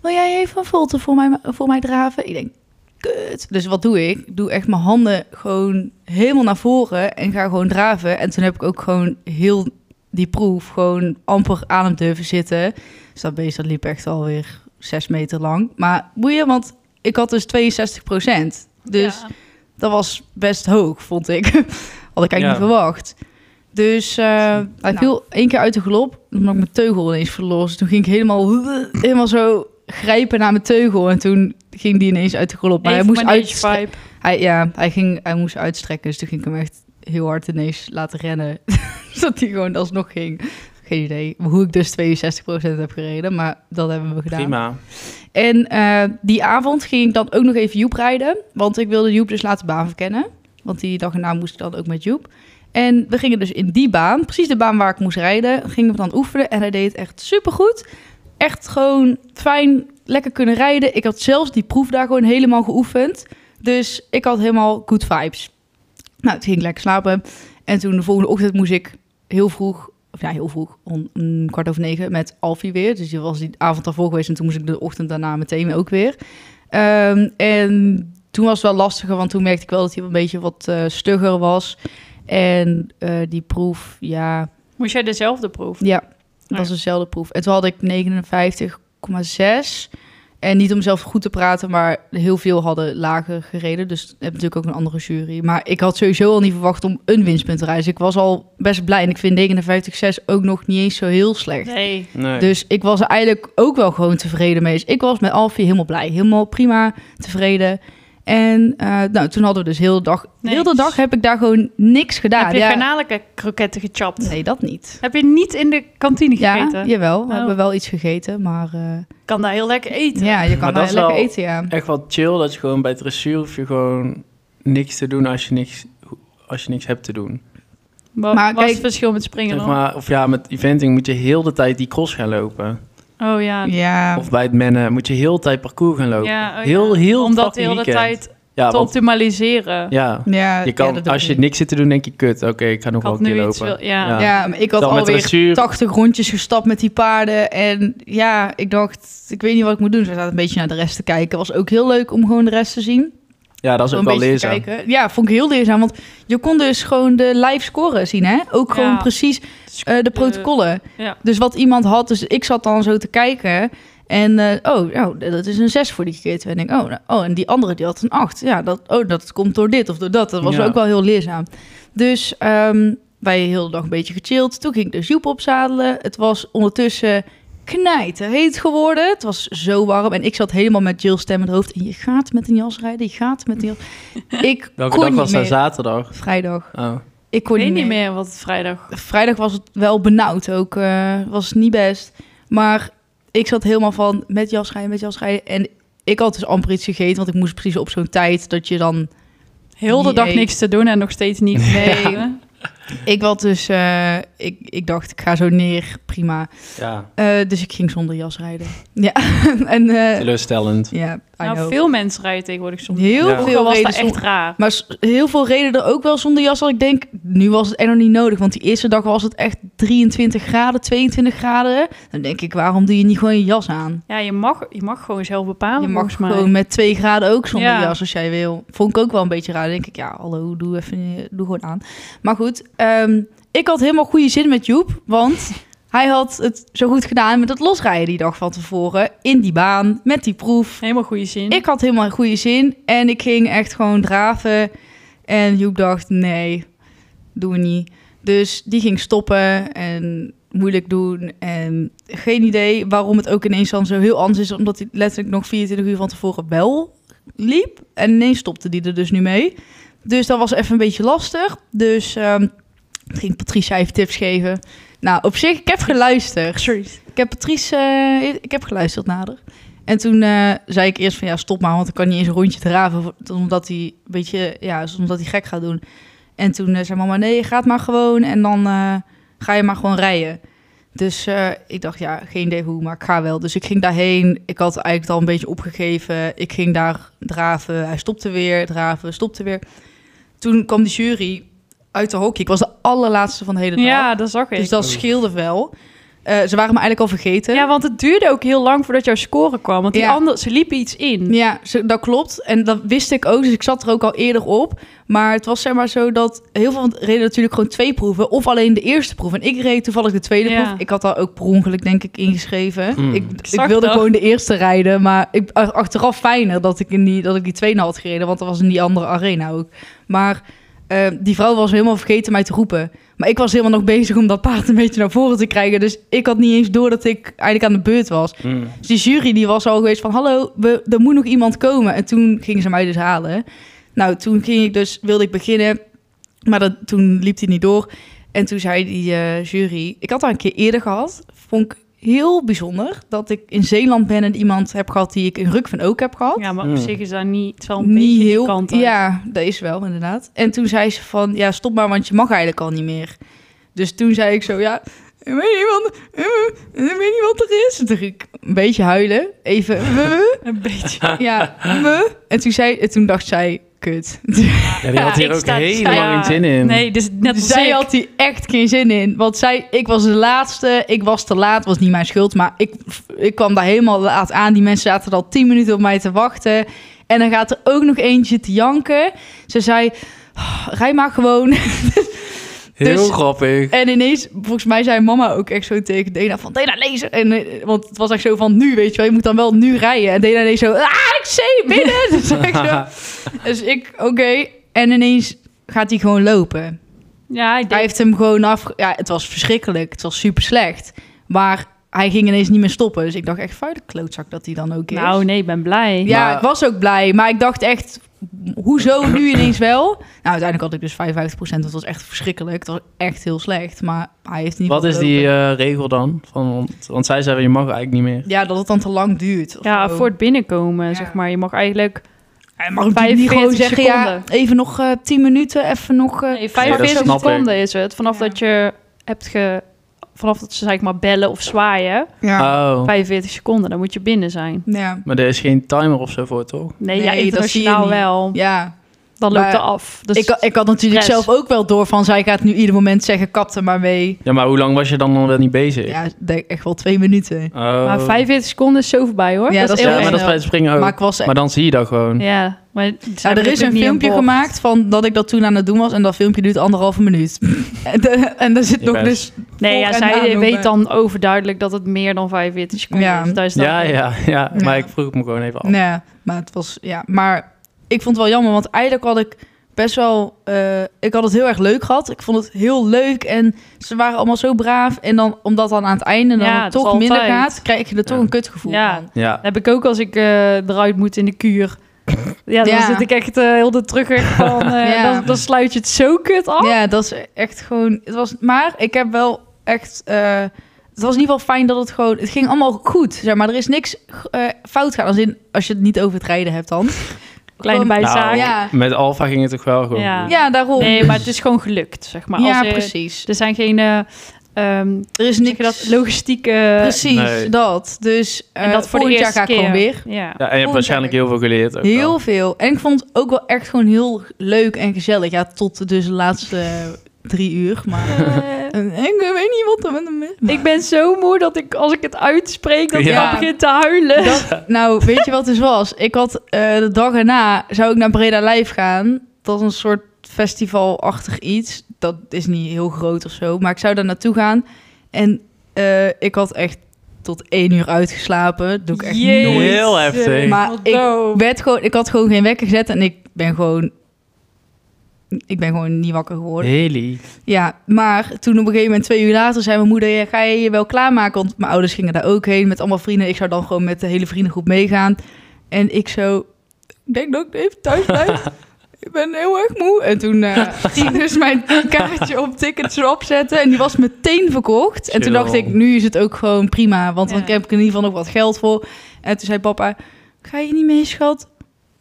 wil jij even een volte voor mij, voor mij draven? Ik denk, kut. Dus wat doe ik? Ik doe echt mijn handen gewoon helemaal naar voren en ga gewoon draven. En toen heb ik ook gewoon heel die proef gewoon amper aan hem durven zitten. Dus dat beest dat liep echt alweer zes meter lang. Maar boeien, want ik had dus 62 procent. Dus
Ja.
dat was best hoog, vond ik. Had ik eigenlijk
Ja.
niet verwacht. Dus eh, hij viel één keer uit de galop. Toen had ik mijn teugel ineens verloren. Dus toen ging ik helemaal, helemaal zo grijpen naar mijn teugel. En toen ging die ineens uit de galop. Maar
Even
hij moest
manege
uitstrekken.
vibe.
Hij, ja, hij, ging, hij moest uitstrekken. Dus toen ging ik hem echt heel hard ineens laten rennen. Zodat hij gewoon alsnog ging. Geen idee hoe ik dus 62% heb gereden. Maar dat hebben we gedaan.
Prima.
En eh, die avond ging ik dan ook nog even Joep rijden. Want ik wilde Joep dus laten baan verkennen. Want die dag erna moest ik dan ook met Joep. En we gingen dus in die baan, precies de baan waar ik moest rijden, gingen we dan oefenen. En hij deed het echt supergoed. Echt gewoon fijn, lekker kunnen rijden. Ik had zelfs die proef daar gewoon helemaal geoefend. Dus ik had helemaal good vibes. Nou, toen ging ik lekker slapen. En toen de volgende ochtend moest ik heel vroeg, of ja, heel vroeg, om, om kwart over negen met Alfie weer. Dus die was die avond daarvoor geweest en toen moest ik de ochtend daarna meteen ook weer. Ehm, en toen was het wel lastiger, want toen merkte ik wel dat hij een beetje wat eh, stugger was. En eh, die proef, ja,
Moest jij dezelfde proef?
ja,
Ah,
dat was
ja.
dezelfde proef. En toen had ik 59,6. En niet om zelf goed te praten, maar heel veel hadden lager gereden. Dus heb natuurlijk ook een andere jury. Maar ik had sowieso al niet verwacht om een winstpunt te reizen. Ik was al best blij. En ik vind 59-6 ook nog niet eens zo heel slecht.
Nee.
Nee.
Dus ik was er eigenlijk ook wel gewoon tevreden mee. Dus ik was met Alfie helemaal blij. Helemaal prima, tevreden. En eh, nou, toen hadden we dus heel de dag...
Niks.
Heel de dag heb ik daar gewoon niks gedaan.
Heb je
Ja,
garnalenke kroketten gechapt?
Nee, dat niet.
Heb je niet in de kantine
Ja,
gegeten?
jawel. We
Oh.
hebben wel iets gegeten, maar... eh,
Kan daar heel lekker eten.
ja, je
Maar
kan
dat
daar
is
lekker
wel-
eten, ja.
Echt wel chill dat je gewoon bij dressuur hoef je gewoon niks te doen als je niks, als je niks hebt te doen.
Wa-
Maar
wat is
kijk-
het verschil met springen
Zeg
dan?
maar, of ja, met eventing moet je heel de tijd die cross gaan lopen.
Oh ja.
Ja,
Of bij het mennen moet je heel de tijd parcours gaan lopen.
Ja, oh ja.
Heel, heel
Om dat de
fucking
hele
weekend.
tijd
Ja,
te
want,
optimaliseren.
ja,
ja.
je
ja,
kan,
dat doe
als
ik
je
niet.
niks zit te doen, denk je, kut, oké, ik ga nog
Ik
wel
had
een keer
nu iets
lopen.
wil... Ja.
Ja.
Ja, maar ik had
Dan met
alweer
dressuur.
80 rondjes gestapt met die paarden. En ja, ik dacht, ik weet niet wat ik moet doen. Ze zaten een beetje naar de rest te kijken. Was ook heel leuk om gewoon de rest te zien.
Ja, dat is ook
Gewoon
wel
een beetje te
leerzaam.
kijken. Ja, vond ik heel leerzaam. Want je kon dus gewoon de live scoren zien, hè? Ook
Ja.
gewoon precies
Dus,
eh, de protocollen.
ja.
Dus wat iemand had, dus ik zat dan zo te kijken. En eh, oh, nou, dat is een 6 voor die keer. En ik, oh, nou, oh, en die andere die had een 8. Ja, dat, oh, dat komt door dit of door dat. Dat was
Ja.
ook wel heel leerzaam. Dus ehm, wij heel de dag een beetje gechilled. Toen ging ik de Joep opzadelen. Het was ondertussen knijterheet geworden. Het was zo warm. En ik zat helemaal met Jill stem in het hoofd. En je gaat met een jas rijden, je gaat met een jas. Ik
Welke
kon
dag
niet
was dat?
meer.
Zaterdag?
Vrijdag.
Oh.
Ik kon
Ik weet
niet
niet
meer.
meer wat het vrijdag.
Vrijdag was het wel benauwd ook. eh, was het niet best. Maar ik zat helemaal van met jas rijden, met jas rijden. En ik had dus amper iets gegeten, want ik moest precies op zo'n tijd dat je dan...
Heel de
Niet
dag
eten.
niks te doen en nog steeds niet.
Nee.
Ja.
Ik had dus... eh, ik, ik dacht, ik ga zo neer, prima.
Ja,
Eh, dus ik ging zonder jas rijden. Ja, en... eh,
teleurstellend.
Ja, I
Nou,
know.
veel mensen rijden tegenwoordig soms.
Heel
Ja.
veel
Vroeger was
reden
dat echt raar.
Maar s- heel veel reden er ook wel zonder jas. Als ik denk, nu was het er nog niet nodig. Want die eerste dag was het echt 23 graden, 22 graden. Dan denk ik, waarom doe je niet gewoon je jas aan?
Ja, je mag, je mag gewoon zelf bepalen.
Je mag
volgens mij.
gewoon met 2 graden ook zonder
Ja.
jas als jij wil. Vond ik ook wel een beetje raar. Dan denk ik, ja, hallo, doe, even, doe gewoon aan. Maar goed, ehm, ik had helemaal goede zin met Joep. Want hij had het zo goed gedaan met het losrijden die dag van tevoren. In die baan, met die proef.
Helemaal goede zin.
Ik had helemaal een goede zin en ik ging echt gewoon draven. En Joep dacht, nee, doen we niet. Dus die ging stoppen en moeilijk doen. En geen idee waarom het ook ineens dan zo heel anders is. Omdat hij letterlijk nog 24 uur van tevoren wel liep. En ineens stopte die er dus nu mee. Dus dat was even een beetje lastig. Dus ehm toen ging Patricia even tips geven. Nou, op zich, ik heb geluisterd.
Sorry.
Ik heb Patrice, eh, ik heb geluisterd nader. En toen eh, zei ik eerst van ja, stop maar, want ik kan niet eens een rondje draven. voor- Omdat hij een beetje, ja, omdat hij gek gaat doen. En toen eh, zei mama, nee, gaat maar gewoon. En dan eh, ga je maar gewoon rijden. Dus eh, ik dacht, ja, geen idee hoe, maar ik ga wel. Dus ik ging daarheen. Ik had eigenlijk al een beetje opgegeven. Ik ging daar draven. Hij stopte weer, draven, stopte weer. Toen kwam die jury uit de hockey. Ik was de allerlaatste van de hele dag.
Ja, dat zag ik.
Dus dat scheelde wel. Eh, ze waren me eigenlijk al vergeten.
Ja, want het duurde ook heel lang voordat jouw score kwam. Want die
Ja.
ander, ze liepen iets in.
Ja, ze- dat klopt. En dat wist ik ook, dus ik zat er ook al eerder op. Maar het was zeg maar zo dat heel veel reden natuurlijk gewoon twee proeven. Of alleen de eerste proef. En ik reed toevallig de tweede
Ja.
proef. Ik had daar ook per ongeluk denk ik ingeschreven.
Mm.
Ik,
Ik
ik
zag
wilde
dat.
gewoon de eerste rijden. Maar ik, a- achteraf fijner dat ik, in die, dat ik die tweede had gereden. Want dat was in die andere arena ook. Maar eh, die vrouw was helemaal vergeten mij te roepen. Maar ik was helemaal nog bezig om dat paard een beetje naar voren te krijgen. Dus ik had niet eens door dat ik eigenlijk aan de beurt was.
Mm.
Dus die jury die was al geweest van... hallo, we, er moet nog iemand komen. En toen gingen ze mij dus halen. Nou, toen ging ik dus, wilde ik beginnen. Maar dat, toen liep hij niet door. En toen zei die eh, jury... Ik had dat een keer eerder gehad. Vond ik heel bijzonder dat ik in Zeeland ben... en iemand heb gehad die ik in Rukven ook heb gehad.
Ja, maar
Mm.
op zich is dat niet, het is wel een beetje die kant uit.
Ja, dat is wel inderdaad. En toen zei ze van, ja stop maar, want je mag eigenlijk al niet meer. Dus toen zei ik zo, ja, ik weet niet wat, eh, ik weet niet wat er is. Toen ging ik een beetje huilen, even, eh,
Een beetje.
ja, me. En toen, zei, en toen dacht zij, kut.
Ja, die had
Ja,
hier
ik
ook
sta-
helemaal
ja.
geen zin in.
Nee, dus net als
zij
ik.
had hier echt geen zin in. Want zij, ik was de laatste, ik was te laat, was niet mijn schuld. Maar ik, ik kwam daar helemaal laat aan. Die mensen zaten al tien minuten op mij te wachten. En dan gaat er ook nog eentje te janken. Ze zei, "Oh, rij maar gewoon.
Heel
Dus-
grappig.
En ineens, volgens mij zei mama ook echt zo tegen Dena van... Dena, lezen! En, eh, want het was echt zo van, nu weet je wel, je moet dan wel nu rijden. En Dena ineens zo, ah, ik zie binnen! dus, ik zo, dus ik, oké. En ineens gaat hij gewoon lopen.
Ja, ik
Hij
denk...
heeft hem gewoon af... Ja, het was verschrikkelijk. Het was super slecht. Maar hij ging ineens niet meer stoppen. Dus ik dacht echt, vuile klootzak dat hij dan ook is.
Nou, nee, ik ben blij.
Ja,
Maar-
ik was ook blij. Maar ik dacht echt, hoezo nu ineens wel? Nou, uiteindelijk had ik dus 55 Dat was echt verschrikkelijk. Het was echt heel slecht. Maar hij heeft niet.
Wat is die eh, regel dan? Van, want, want zij zei, je mag eigenlijk niet meer.
Ja, dat het dan te lang duurt. of
Ja,
zo.
voor het binnenkomen,
Ja.
zeg maar. Je mag eigenlijk...
Hij mag natuurlijk niet
45
gewoon zeggen, ja,
seconden.
even nog eh 10 minuten, even nog... eh,
Nee,
Ja,
45
dat snap
seconden is het. Vanaf
Ja.
dat je hebt ge... Vanaf dat ze zeg maar bellen of zwaaien.
ja.
Oh,
45 seconden, dan moet je binnen zijn.
ja.
maar er is geen timer of zo voor, toch?
Nee, ja,
Nee, dat zie je
internationaal
niet.
wel.
Ja,
Dan loopt
Maar
er af. Dus
ik, ik had natuurlijk
stress.
zelf ook wel door van, zij gaat nu ieder moment zeggen, kap er maar mee.
Ja, maar hoe lang was je dan nog wel niet bezig?
Ja, ik denk echt wel twee minuten.
Oh.
Maar 45 seconden is zo voorbij, hoor.
Ja, dat is
Ja,
heel
heel
erg.
maar dat is bij het springen
Oh,
ook.
Maar
Maar,
ik was echt...
dan zie je dat gewoon.
Ja, maar ze
Nou,
hebben
er is
natuurlijk
een
niet
filmpje
bord.
gemaakt van dat ik dat toen aan het doen was. En dat filmpje duurt anderhalve minuut. en, de- en daar zit
Je
nog
best.
dus...
Nee,
Voor-
ja,
en
zij
nadoen,
weet
maar-
dan overduidelijk dat het meer dan 45 seconden
Ja.
is. Daar is dat
Ja,
weer.
ja, ja. Maar ik
Ja.
vroeg het me gewoon even af.
Nee, maar het was... Ja, maar ik vond het wel jammer. Want eigenlijk had ik best wel... eh, ik had het heel erg leuk gehad. Ik vond het heel leuk. En ze waren allemaal zo braaf. En dan, omdat dan aan het einde dan
Ja,
het
dat
toch
is
minder
altijd.
gaat... krijg je er toch
Ja.
een kutgevoel
Ja.
van.
Ja.
Dat heb ik ook als ik eh, eruit moet in de kuur. Ja, dan
Ja.
zit ik echt eh, heel de terugweg van... eh,
Ja.
dan, dan sluit je het zo kut af.
Ja, dat is echt gewoon... Het was, maar ik heb wel echt... eh, het was in ieder geval fijn dat het gewoon... Het ging allemaal goed, zeg maar. Er is niks eh, fout gaan. Als, in, als je het niet over het rijden hebt dan.
Kleine
Gewoon-
bijzaak.
ja.
Nou, met Alfa ging het toch wel gewoon
Ja.
goed.
Ja, daarom.
Nee, maar het is gewoon gelukt, zeg maar.
ja,
Als, eh,
precies.
Er zijn geen... eh, ehm,
Er
zeg
is
je
niks...
dat, logistieke...
precies,
Nee.
dat. Dus eh
en dat voor de
volgend
eerste
jaar ga ik
keer.
gewoon weer.
Ja.
Ja, en je hebt waarschijnlijk heel veel geleerd. ook
Heel
wel.
veel. En ik vond het ook wel echt gewoon heel leuk en gezellig. Ja, tot dus de laatste eh, drie uur. Maar
Eh,
en, ik weet niet wat er met hem is.
ik ben zo moe dat ik, als ik het uitspreek, dat ik
Ja.
al begin te huilen.
Dat- nou, weet je wat dus was? Ik had eh, de dag erna zou ik naar Breda Lijf gaan. Dat is een soort festivalachtig iets. Dat is niet heel groot of zo, maar ik zou daar naartoe gaan. En eh, ik had echt tot één uur uitgeslapen. Dat doe ik echt
Jezus.
nooit.
Heel heftig.
eh, Maar
Wat
ik
doof.
werd gewoon, ik had gewoon geen wekker gezet en ik ben gewoon, ik ben gewoon niet wakker geworden.
Heli.
Ja, maar toen op een gegeven moment, twee uur later, zei mijn moeder: "Ja, Ga je je wel klaarmaken? Want mijn ouders gingen daar ook heen met allemaal vrienden. Ik zou dan gewoon met de hele vriendengroep meegaan. En ik zo: Ik denk dat ik even thuis blijf. ik ben heel erg moe. En toen eh, ging ik dus mijn kaartje op tickets erop zetten. En die was meteen verkocht. En toen
Chill.
dacht ik: Nu is het ook gewoon prima. Want dan
Ja.
heb ik in ieder geval nog wat geld voor. En toen zei papa: Ga je niet mee, schat?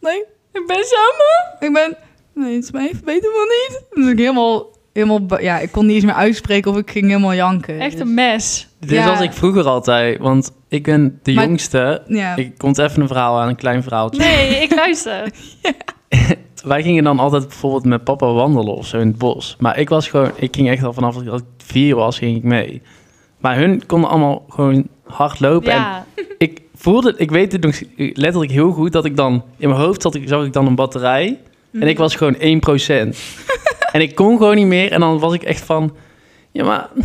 Nee, ik ben zo moe. Ik ben. Nee, het is mij even beter van niet. Dus ik helemaal, helemaal, ba- ja, ik kon niet eens meer uitspreken of ik ging helemaal janken.
Echt
Dus-
een mes.
Dit
Ja.
was ik vroeger altijd, want ik ben de
Maar-
jongste.
Dus- Ja.
Ik komt even een verhaal aan, een klein verhaaltje.
Nee, ik luister.
Wij gingen dan altijd bijvoorbeeld met papa wandelen of zo in het bos. Maar ik was gewoon, ik ging echt al vanaf dat ik vier was, ging ik mee. Maar hun konden allemaal gewoon hard lopen. En
Ja.
ik voelde, ik weet het nog letterlijk heel goed, dat ik dan in mijn hoofd zat, ik- zag ik dan een batterij. En
Mhm.
ik was gewoon 1%. en ik kon gewoon niet meer. En dan was ik echt van, ja maar,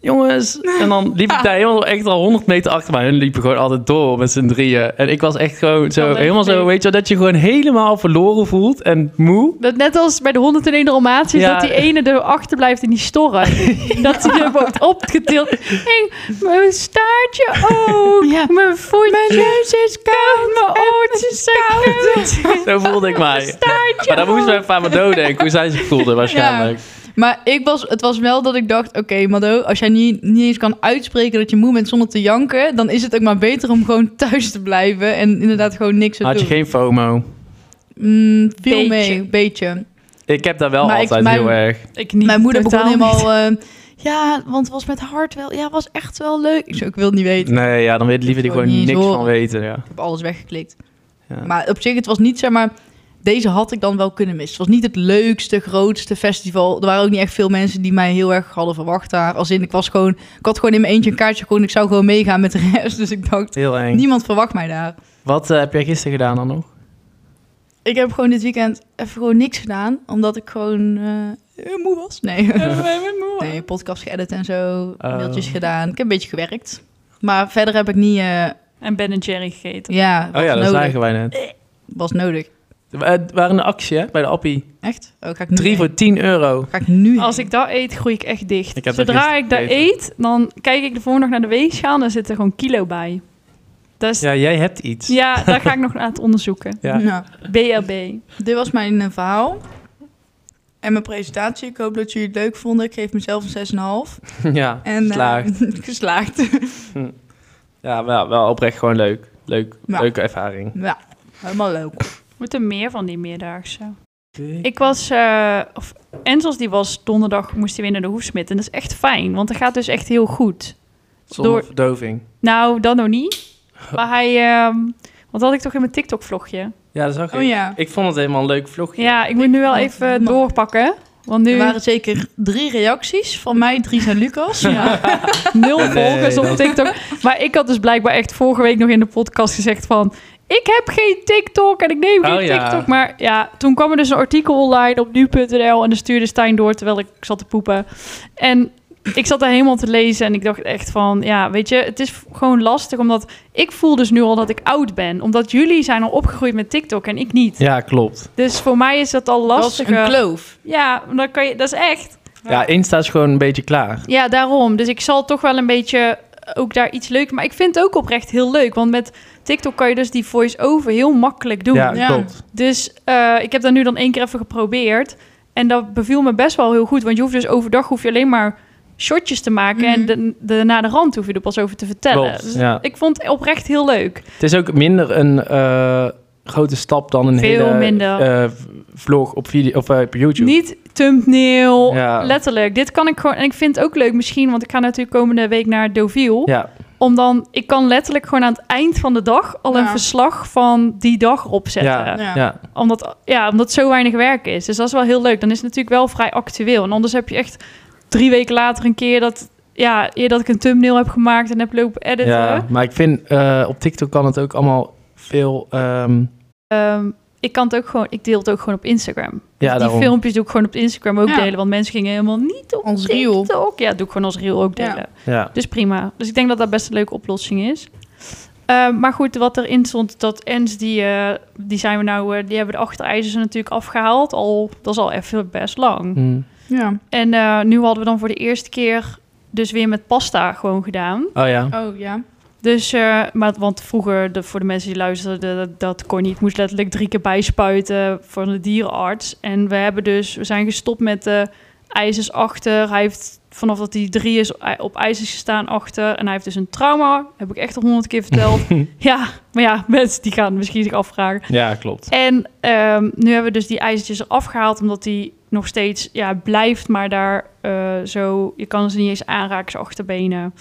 jongens. En dan liep
Ah.
ik daar helemaal echt al 100 meter achter. Maar hun liepen gewoon altijd door met z'n drieën. En ik was echt gewoon zo,
leuk
helemaal zo,
idee.
weet je wel, dat je gewoon helemaal verloren voelt en moe.
Dat net als bij de 101 Dalmatiërs,
Ja.
dat die ene erachter blijft in die storren. Dat die er wordt opgetild. Hey, mijn staartje ook,
Ja.
mijn voetje. Mijn neus is koud, mijn oortjes zijn koud.
Zo voelde ik mij.
Staartje
Maar daar moesten we
ook.
even aan Mado denken, hoe zij zich voelde waarschijnlijk.
Maar ik was, het was wel dat ik dacht, oké Mado, als jij niet, niet eens kan uitspreken dat je moe bent zonder te janken, dan is het ook maar beter om gewoon thuis te blijven en inderdaad gewoon niks te
Had je
doen.
geen FOMO?
Mm, viel
Beetje.
mee, beetje.
Ik heb daar wel
Maar ik-
altijd
mijn-
heel erg.
Ik niet.
Mijn moeder begon
totaal
helemaal,
niet.
eh, ja, want het was met hart wel, ja, het was echt wel leuk. Ik, zo, ik wil het niet weten.
Nee, ja, dan weet liever die
wil
gewoon
niet eens
niks
horen.
van weten. Ja.
Ik heb alles weggeklikt.
Ja.
Maar op zich, het was niet, zeg maar... Deze had ik dan wel kunnen missen. Het was niet het leukste, grootste festival. Er waren ook niet echt veel mensen die mij heel erg hadden verwacht daar. Als in, ik was gewoon... Ik had gewoon in mijn eentje een kaartje gekocht. en Ik zou gewoon meegaan met de rest. Dus ik dacht,
Heel eng.
niemand verwacht mij daar.
Wat eh, heb jij gisteren gedaan dan nog?
Ik heb gewoon dit weekend even gewoon niks gedaan. Omdat ik gewoon... eh, eh, moe was. Nee.
Nee.
nee, podcast geëdit en zo,
Oh.
mailtjes gedaan. Ik heb een beetje gewerkt. Maar verder heb ik niet... eh,
En Ben Jerry gegeten.
ja, was
Oh ja, dat
nodig.
zagen wij net.
Was nodig.
We eh, waren een actie hè, bij de appie.
Echt? Oh, ga ik nu
Drie
heen.
voor 10 euro.
Ga ik nu
Als
heen.
ik dat eet, groei ik echt dicht.
Ik heb dat
Zodra
gisteren
ik dat
gegeten.
eet, dan kijk ik de volgende dag naar de weegschaal en dan zit er gewoon kilo bij. Dus ja,
Ja, jij hebt iets.
daar ga ik nog aan het onderzoeken.
Ja.
Nou,
BLB.
dit was mijn eh, verhaal. En mijn presentatie. Ik hoop dat jullie het leuk vonden. Ik geef mezelf een 6,5.
ja,
En, eh,
geslaagd.
geslaagd.
Ja, wel, wel oprecht gewoon leuk. leuk
Ja.
Leuke ervaring.
ja, helemaal leuk.
We moeten meer van die middagse. Ik was, eh of Enzels die was donderdag, moest hij weer naar de hoefsmid. En dat is echt fijn, want dat gaat dus echt heel goed.
Zonder
door-
verdoving.
Nou, dan nog niet. Maar hij, ehm wat had ik toch in mijn TikTok-vlogje?
Ja, dat is ook
Oh ja.
Ik vond het helemaal een leuk vlogje.
Ja, ik moet nu wel even
Man.
doorpakken. Want
Er
nu
waren zeker drie reacties. Van mij, drie van Lucas. Ja.
nul
Nee,
volgers op
dat-
TikTok. Maar ik had dus blijkbaar echt vorige week nog in de podcast gezegd van... Ik heb geen TikTok en ik neem geen
Oh, ja.
TikTok. Maar ja, toen kwam er dus een artikel online op nu.nl... en dan stuurde Stijn door terwijl ik zat te poepen. En ik zat daar helemaal te lezen en ik dacht echt van... Ja, weet je, het is v- gewoon lastig omdat... Ik voel dus nu al dat ik oud ben. Omdat jullie zijn al opgegroeid met TikTok en ik niet.
Ja, klopt.
Dus voor mij is dat al
Dat was
lastiger.
een kloof.
ja, dan kan je, dat is echt...
Ja, Insta is gewoon een beetje klaar.
Ja, daarom. Dus ik zal toch wel een beetje ook daar iets leuk. Maar ik vind het ook oprecht heel leuk. Want met TikTok kan je dus die voice-over heel makkelijk doen.
Ja,
Ja.
klopt.
Dus eh, ik heb dat nu dan één keer even geprobeerd. En dat beviel me best wel heel goed. Want je hoeft dus overdag hoef je alleen maar shotjes te maken. En
Mhm.
de, de, na de rand hoef je er pas over te vertellen.
Klopt,
Dus
ja.
ik vond het oprecht heel leuk.
Het is ook minder een eh, grote stap dan een
Veel
hele
minder.
eh, v- vlog op, video, of, eh, op YouTube.
Niet thumbnail,
Ja.
letterlijk. Dit kan ik gewoon... En ik vind het ook leuk misschien, want ik ga natuurlijk komende week naar Deauville.
Ja,
Om dan, ik kan letterlijk gewoon aan het eind van de dag al een
Ja.
verslag van die dag opzetten.
ja, ja.
Ja.
ja.
Omdat, ja, omdat zo weinig werk is. Dus dat is wel heel leuk. Dan is het natuurlijk wel vrij actueel. En anders heb je echt drie weken later een keer dat, ja, eer dat ik een thumbnail heb gemaakt en heb lopen editen.
Maar ik vind, eh, op TikTok kan het ook allemaal veel... ehm,
Ehm, ik kan het ook gewoon, ik deel het ook gewoon op Instagram. Dus
ja,
die
daarom.
filmpjes doe ik gewoon op Instagram ook
Ja. delen,
delen. Want mensen gingen helemaal niet op
Ons reel.
TikTok. Ja, doe ik gewoon als reel ook
Ja.
delen.
Ja.
Dus prima. Dus ik denk dat dat best een leuke oplossing is. Eh, maar goed, wat erin stond, dat Ens, die, eh, die zijn we nou, eh, die hebben de achterijzers er natuurlijk afgehaald. Al, dat is al even best lang.
Hm.
Ja.
En eh, nu hadden we dan voor de eerste keer dus weer met pasta gewoon gedaan.
Oh ja.
Oh ja.
Dus, eh, maar, want vroeger, de, voor de mensen die luisterden, dat, dat kon niet. Ik moest letterlijk drie keer bijspuiten voor de dierenarts. En we hebben dus, we zijn gestopt met de ijzers achter. Hij heeft, vanaf dat hij drie is, i- op ijzers gestaan achter. En hij heeft dus een trauma, heb ik echt al honderd keer verteld. ja, maar ja, mensen die gaan misschien zich afvragen.
Ja, klopt.
En ehm, nu hebben we dus die ijzertjes eraf gehaald, omdat die nog steeds ja, blijft, maar daar eh, zo, je kan ze niet eens aanraken, zijn achterbenen.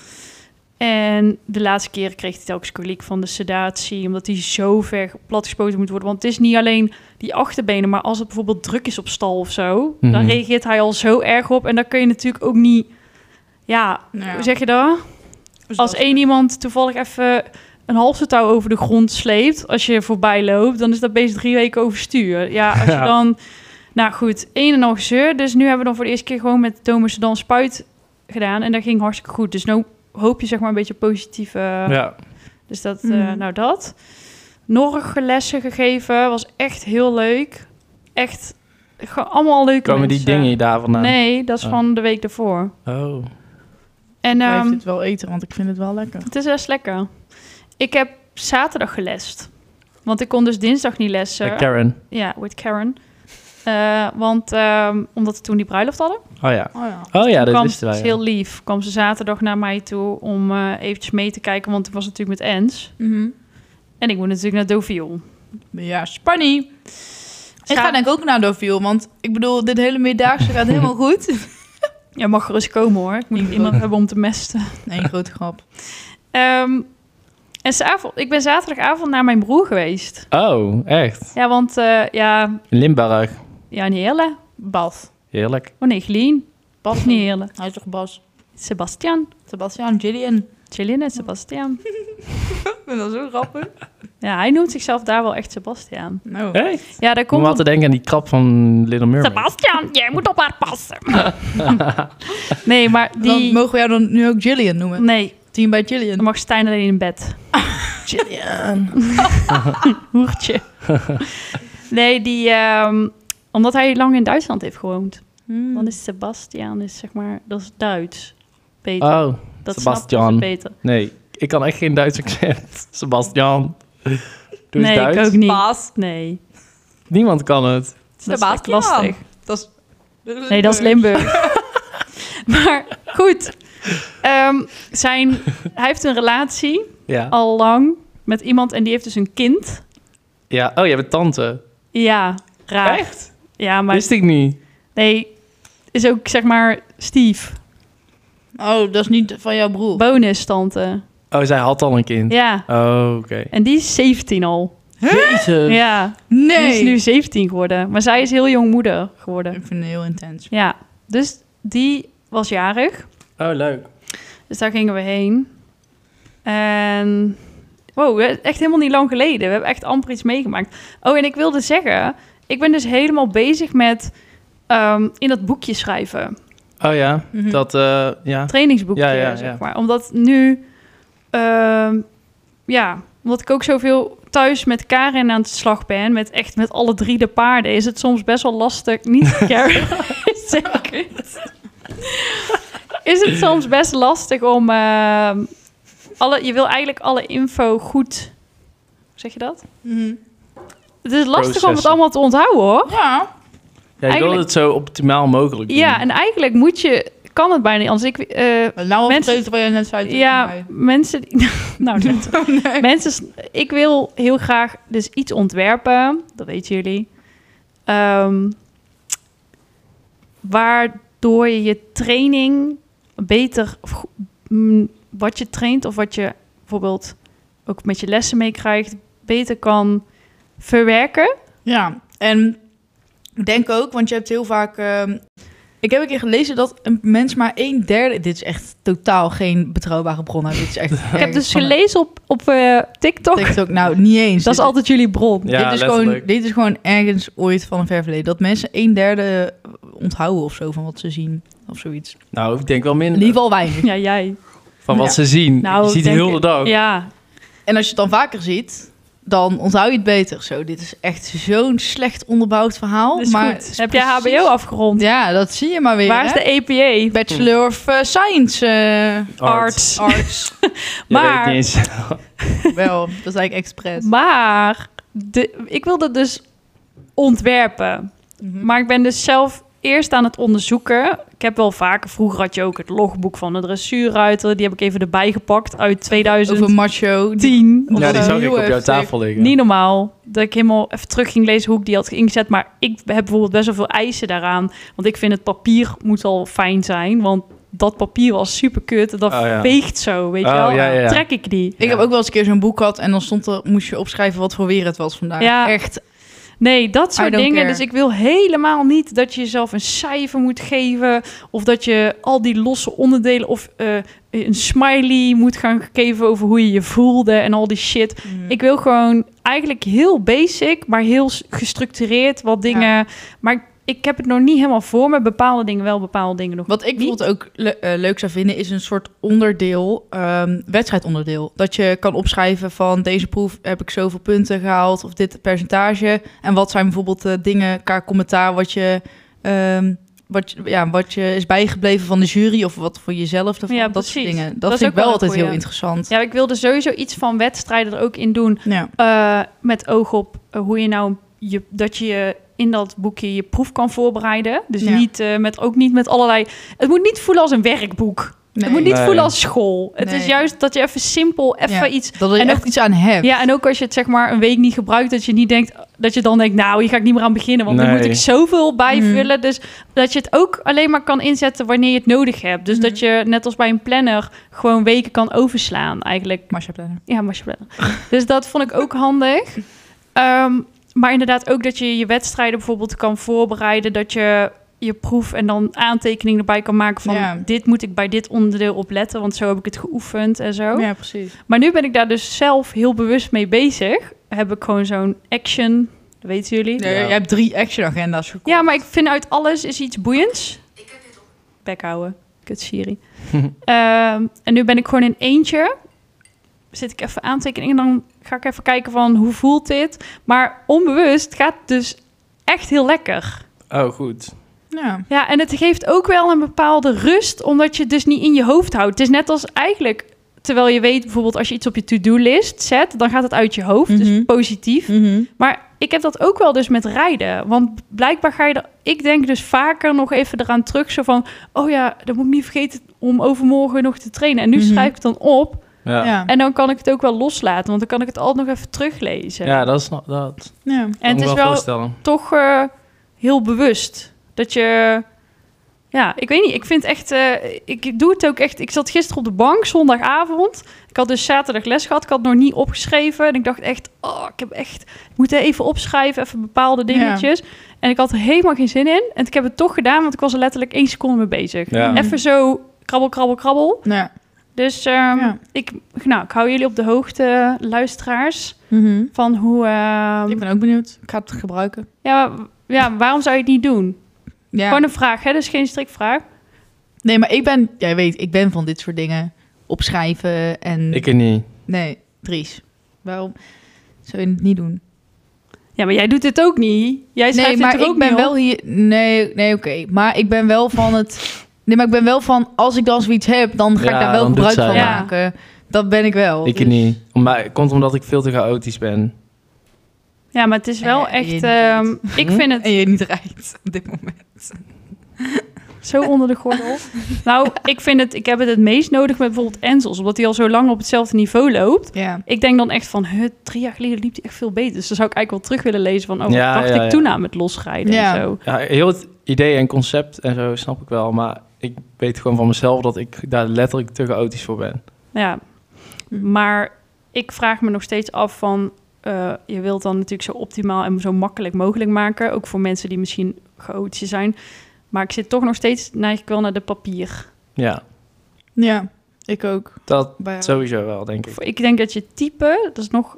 En de laatste keer kreeg hij telkens koliek van de sedatie, omdat die zo ver platgespoten moet worden. Want het is niet alleen die achterbenen, maar als het bijvoorbeeld druk is op stal of zo, dan
Mhm.
reageert hij al zo erg op. En dan kun je natuurlijk ook niet, ja,
Nou Ja. Dus
hoe zeg je dat? Dus Als één iemand toevallig even een halve touw over de grond sleept, als je voorbij loopt, dan is dat beest drie weken overstuur. Ja, als je
Ja.
dan... Nou goed, één en al gezeur. Dus nu hebben we dan voor de eerste keer gewoon met Thomas dan spuit gedaan. En dat ging hartstikke goed. Dus nu hoop je zeg maar een beetje positieve...
Ja.
Dus dat,
Mhm.
eh, nou dat. Norge lessen gegeven, was echt heel leuk. Echt, gewoon allemaal leuke
Komen die
mensen.
dingen daar vandaan?
Nee, dat is
Oh.
van de week daarvoor.
Oh.
En
Blijf
ehm,
het wel eten, want ik vind het wel lekker.
Het is best lekker. Ik heb zaterdag gelest. Want ik kon dus dinsdag niet lessen.
Ja, Eh, Karen.
Ja, with Karen. Eh, want ehm, omdat we toen die bruiloft hadden.
Oh ja.
Oh ja.
Oh ja,
toen
dat
kwam
wisten wij.
ze
ja.
heel lief. Kwam ze zaterdag naar mij toe om eh, eventjes mee te kijken. Want het was natuurlijk met Ens. En ik moet natuurlijk naar Deauville.
Mhm. Ja, Spanny. Ik
Scha-
ga denk ik ook naar Deauville, want ik bedoel, dit hele middagse gaat helemaal goed.
Ja, mag gerust komen hoor. Ik moet nog iemand hebben om te mesten.
Nee, grote grap.
Ehm, en s'avond, ik ben zaterdagavond naar mijn broer geweest.
Oh, echt?
Ja, want eh, ja,
In Limburg.
ja, niet Heerle.
Bas.
Heerlijk.
Oh nee, Glien. Pas niet Heerle.
Hij is toch Bas?
Sebastian.
Sebastian, Gillian.
Chilin en Sebastian.
Ik vind dat zo grappig.
Ja, hij noemt zichzelf daar wel echt Sebastiaan.
Nou,
Echt?
Ja, daar
Om
komt
wel te denken aan die krap van Little Mermaid.
Sebastiaan, jij moet op haar passen. nee, maar
dan
die...
mogen we jou dan nu ook Jillian noemen.
Nee,
Team bij
dan
Jillian.
mag Stijn alleen in bed.
Jillian.
Hoertje. nee, die... ehm, omdat hij lang in Duitsland heeft gewoond.
Hm.
Dan is Sebastiaan is zeg maar... Dat is Duits. Beter.
Oh,
dat
Sebastiaan.
snapt beter.
nee. Ik kan echt geen Duits accent. Sebastian. Doe eens
nee,
Duits.
ik ook niet.
Baas.
Nee
Niemand kan het.
Dat is echt lastig.
Dat is...
Nee, dat is Limburg. maar goed. Ehm, zijn, hij heeft een relatie
Ja.
al lang met iemand en die heeft dus een kind.
ja. Oh, jij bent tante.
Ja, raar.
Echt?
Ja, maar
Wist ik niet.
nee, is ook zeg maar Steve.
Oh, dat is niet van jouw broer.
Bonus tante.
Oh, zij had al een kind.
Ja,
Oh, oké.
en die is 17 al.
Jezus.
Ja, die is
nee.
nu 17 geworden. Maar zij is heel jong moeder geworden.
Ik vind het heel intens.
Ja, dus die was jarig.
Oh, leuk.
Dus daar gingen we heen. En wow, echt helemaal niet lang geleden. We hebben echt amper iets meegemaakt. Oh, en ik wilde zeggen, ik ben dus helemaal bezig met ehm, in dat boekje schrijven.
Oh ja,
Hm.
Mhm.
dat, eh, ja.
Trainingsboekje,
Ja, ja, ja.
zeg maar. Omdat nu, ehm, ja, omdat ik ook zoveel thuis met Karen aan de slag ben, met echt met alle drie de paarden, is het soms best wel lastig. Niet Karen, zeker. is het soms best lastig om ehm, alle, je wil eigenlijk alle info goed, hoe zeg je dat?
Mhm.
Het is lastig om het
Processen.
allemaal te onthouden, hoor.
Ja.
ja je wil
Eigenlijk-
het zo optimaal mogelijk doen.
Ja, en eigenlijk moet je, kan het bijna niet anders. Ik, eh,
Nou,
Mensen-
mensen... wat jij net zei tegen Oh,
Ja,
mij.
mensen. die- Nou, net. mensen. s- Ik wil heel graag dus iets ontwerpen. Dat weten jullie. ehm, waardoor je je training beter. of go- mm, wat je traint of wat je bijvoorbeeld ook met je lessen meekrijgt, beter kan verwerken.
Ja, en ik denk ook, want je hebt heel vaak... ehm, ik heb een keer gelezen dat een mens maar een derde... Dit is echt totaal geen betrouwbare bron. hè. Dit is echt
Ik heb dus
van een
gelezen op, op eh, TikTok.
TikTok, nou, niet eens.
Dat is
Dit-
altijd jullie bron.
Ja,
dit, is gewoon,
letterlijk.
dit is gewoon ergens ooit van een ver verleden. Dat mensen een derde onthouden of zo van wat ze zien. Of zoiets.
Nou, ik denk wel
In
minder
ieder geval weinig.
Ja, jij.
van wat
Ja.
ze zien.
Nou,
je ziet
denk
heel
ik-
de
Oh.
dag.
Ja,
En als je het dan vaker ziet, dan onthoud je het beter. Zo, dit is echt zo'n slecht onderbouwd verhaal.
dus
Oh, maar
goed. Heb jij
precies-
HBO afgerond?
Ja, dat zie je maar weer.
Waar is
hè?
de EPA?
Bachelor of eh, Science eh,
Arts.
Arts?
Je
Maar-
weet niet eens.
Wel, dat is eigenlijk expres.
Maar de, ik wilde dus ontwerpen.
Mhm.
Maar ik ben dus zelf eerst aan het onderzoeken. Ik heb wel vaker, vroeger had je ook het logboek van de dressuurruiter. Die heb ik even erbij gepakt uit
Over
2010.
macho.
of
Ja,
zo.
die
zou
zag ik
Heel
op jouw
heftig.
tafel liggen.
Niet normaal. Dat ik helemaal even terug ging lezen hoe ik die had ingezet. Maar ik heb bijvoorbeeld best wel veel eisen daaraan. Want ik vind het papier moet al fijn zijn. Want dat papier was super kut. Dat
Oh, ja.
veegt zo, weet
Oh,
je wel.
ja, ja, ja.
Trek ik die.
Ik heb ook wel eens een keer zo'n boek gehad en dan stond er, moest je opschrijven wat voor weer het was vandaag.
Ja.
Echt.
Nee, dat
I
soort
don't
dingen.
care.
Dus ik wil helemaal niet dat je jezelf een cijfer moet geven. Of dat je al die losse onderdelen of eh, een smiley moet gaan geven over hoe je je voelde en al die shit. Ik wil gewoon eigenlijk heel basic, maar heel s- gestructureerd wat dingen. Maar ik, ik heb het nog niet helemaal voor me. Bepaalde dingen wel, bepaalde dingen nog.
Wat ik bijvoorbeeld ook le- eh, leuk zou vinden, is een soort onderdeel, ehm, wedstrijdonderdeel. Dat je kan opschrijven van deze proef heb ik zoveel punten gehaald of dit percentage. En wat zijn bijvoorbeeld eh, dingen qua commentaar wat je, ehm, wat, je- ja, wat je is bijgebleven van de jury of wat voor jezelf. Ervan,
Ja,
dat soort
precies.
dingen. Dat,
Dat is
vind
ook
ik wel
wel een
altijd heel
goeie.
interessant. Ja.
Ja, ik wilde sowieso iets van wedstrijden er ook in doen. eh, met oog op eh, hoe je nou je, dat je je in dat boekje je proef kan voorbereiden. Dus
Ja.
niet, eh, met, ook niet met allerlei. Het moet niet voelen als een werkboek.
Nee.
Het moet niet
Nee.
voelen als school. Het
Nee.
is juist dat je even simpel, even
Ja.
iets.
Dat er
En
echt
ook-
iets aan hebt.
Ja, en ook als je het zeg maar een week niet gebruikt, dat je niet denkt dat je dan denkt, nou, hier ga ik niet meer aan beginnen, want dan
Nee.
moet ik zoveel
Mm.
bijvullen. Dus dat je het ook alleen maar kan inzetten wanneer je het nodig hebt. Dus
Mhm.
dat je net als bij een planner gewoon weken kan overslaan eigenlijk.
Marcia Planner.
Ja, Marcia Brenner. dus dat vond ik ook handig. Ehm, maar inderdaad ook dat je je wedstrijden bijvoorbeeld kan voorbereiden. Dat je je proef en dan aantekeningen erbij kan maken van...
Ja.
dit moet ik bij dit onderdeel op letten, want zo heb ik het geoefend en zo.
Ja, precies.
Maar nu ben ik daar dus zelf heel bewust mee bezig. Heb ik gewoon zo'n action, dat weten jullie.
Ja, Jij hebt drie action agenda's gekocht.
Ja, maar ik vind uit alles is iets boeiends. Bek houden. Kut Siri. Ehm, en nu ben ik gewoon in eentje. Zit ik even aantekeningen en dan ga ik even kijken van hoe voelt dit. Maar onbewust gaat het dus echt heel lekker.
Oh, goed.
Ja.
Ja, en het geeft ook wel een bepaalde rust, omdat je het dus niet in je hoofd houdt. Het is net als eigenlijk, terwijl je weet bijvoorbeeld als je iets op je to-do-list zet, dan gaat het uit je hoofd,
Mhm.
dus positief. Maar ik heb dat ook wel dus met rijden. Want blijkbaar ga je er... Ik denk dus vaker nog even eraan terug. Zo van, oh ja, dat moet ik niet vergeten om overmorgen nog te trainen. En nu
Mhm.
schrijf ik het dan op.
Ja,
Ja.
ja.
Ja.
En dan kan ik het ook wel loslaten. Want dan kan ik het altijd nog even teruglezen.
dat is nog- dat.
ja.
en het
Kan ik
is
me
wel
voorstellen.
toch eh, heel bewust. Dat je... Ja, ik weet niet. Ik vind echt... eh, ik ik doe het ook echt... Ik zat gisteren op de bank, zondagavond. Ik had dus zaterdag les gehad. Ik had het nog niet opgeschreven. En ik dacht echt... Oh, ik heb echt... Ik moet er even opschrijven. Even bepaalde dingetjes. En ik had er helemaal geen zin in. En ik heb het toch gedaan. Want ik was er letterlijk één seconde mee bezig.
Ja.
Even zo krabbel, krabbel, krabbel. Dus ehm,
Ja.
ik, nou, ik hou jullie op de hoogte, luisteraars.
Mhm.
Van hoe... ehm,
Ik ben ook benieuwd. Ik ga het gebruiken.
ja, ja, waarom zou je het niet doen?
Ja.
Gewoon een vraag, hè? Dus geen strikvraag.
Nee, maar ik ben... Jij weet, ik ben van dit soort dingen. Opschrijven en...
Ik er niet.
Nee, Dries. Waarom zou je het niet doen?
Ja, maar jij doet dit ook niet. Jij schrijft
Nee,
dit
maar
toch
ik
ook
ben
niet,
wel hier... Nee, nee oké. Maar ik ben wel van het... Nee, maar ik ben wel van... Als ik dan zoiets heb, dan ga
Ja,
ik daar wel
dan doet
gebruik
zij
van
het. Ja.
maken. Dat ben ik wel.
Ik er
Dus-
niet. Maar het komt omdat ik veel te chaotisch ben.
Ja, maar het is wel
En je
echt...
niet
ehm, ik
Mhm.
vind het
En je niet rijdt op dit moment.
zo onder de gordel. nou, ik vind het... Ik heb het het meest nodig met bijvoorbeeld Enzels. Omdat hij al zo lang op hetzelfde niveau loopt.
Ja.
Ik denk dan echt van... Huh, drie jaar geleden liep hij echt veel beter. Dus dan zou ik eigenlijk wel terug willen lezen van... Oh, wat
Ja,
dacht
ja,
ik
ja.
toen aan met losrijden
Ja.
en zo.
Ja, heel het idee en concept en zo snap ik wel. Maar ik weet gewoon van mezelf dat ik daar letterlijk te chaotisch voor ben.
Ja,
Hm.
maar ik vraag me nog steeds af van... eh, je wilt dan natuurlijk zo optimaal en zo makkelijk mogelijk maken. Ook voor mensen die misschien chaotisch zijn. Maar ik zit toch nog steeds, neig ik wel naar de papier.
Ja,
Ja, ik ook.
dat
Bij
sowieso wel, denk ik.
Of Ik denk dat je typen, dat is nog...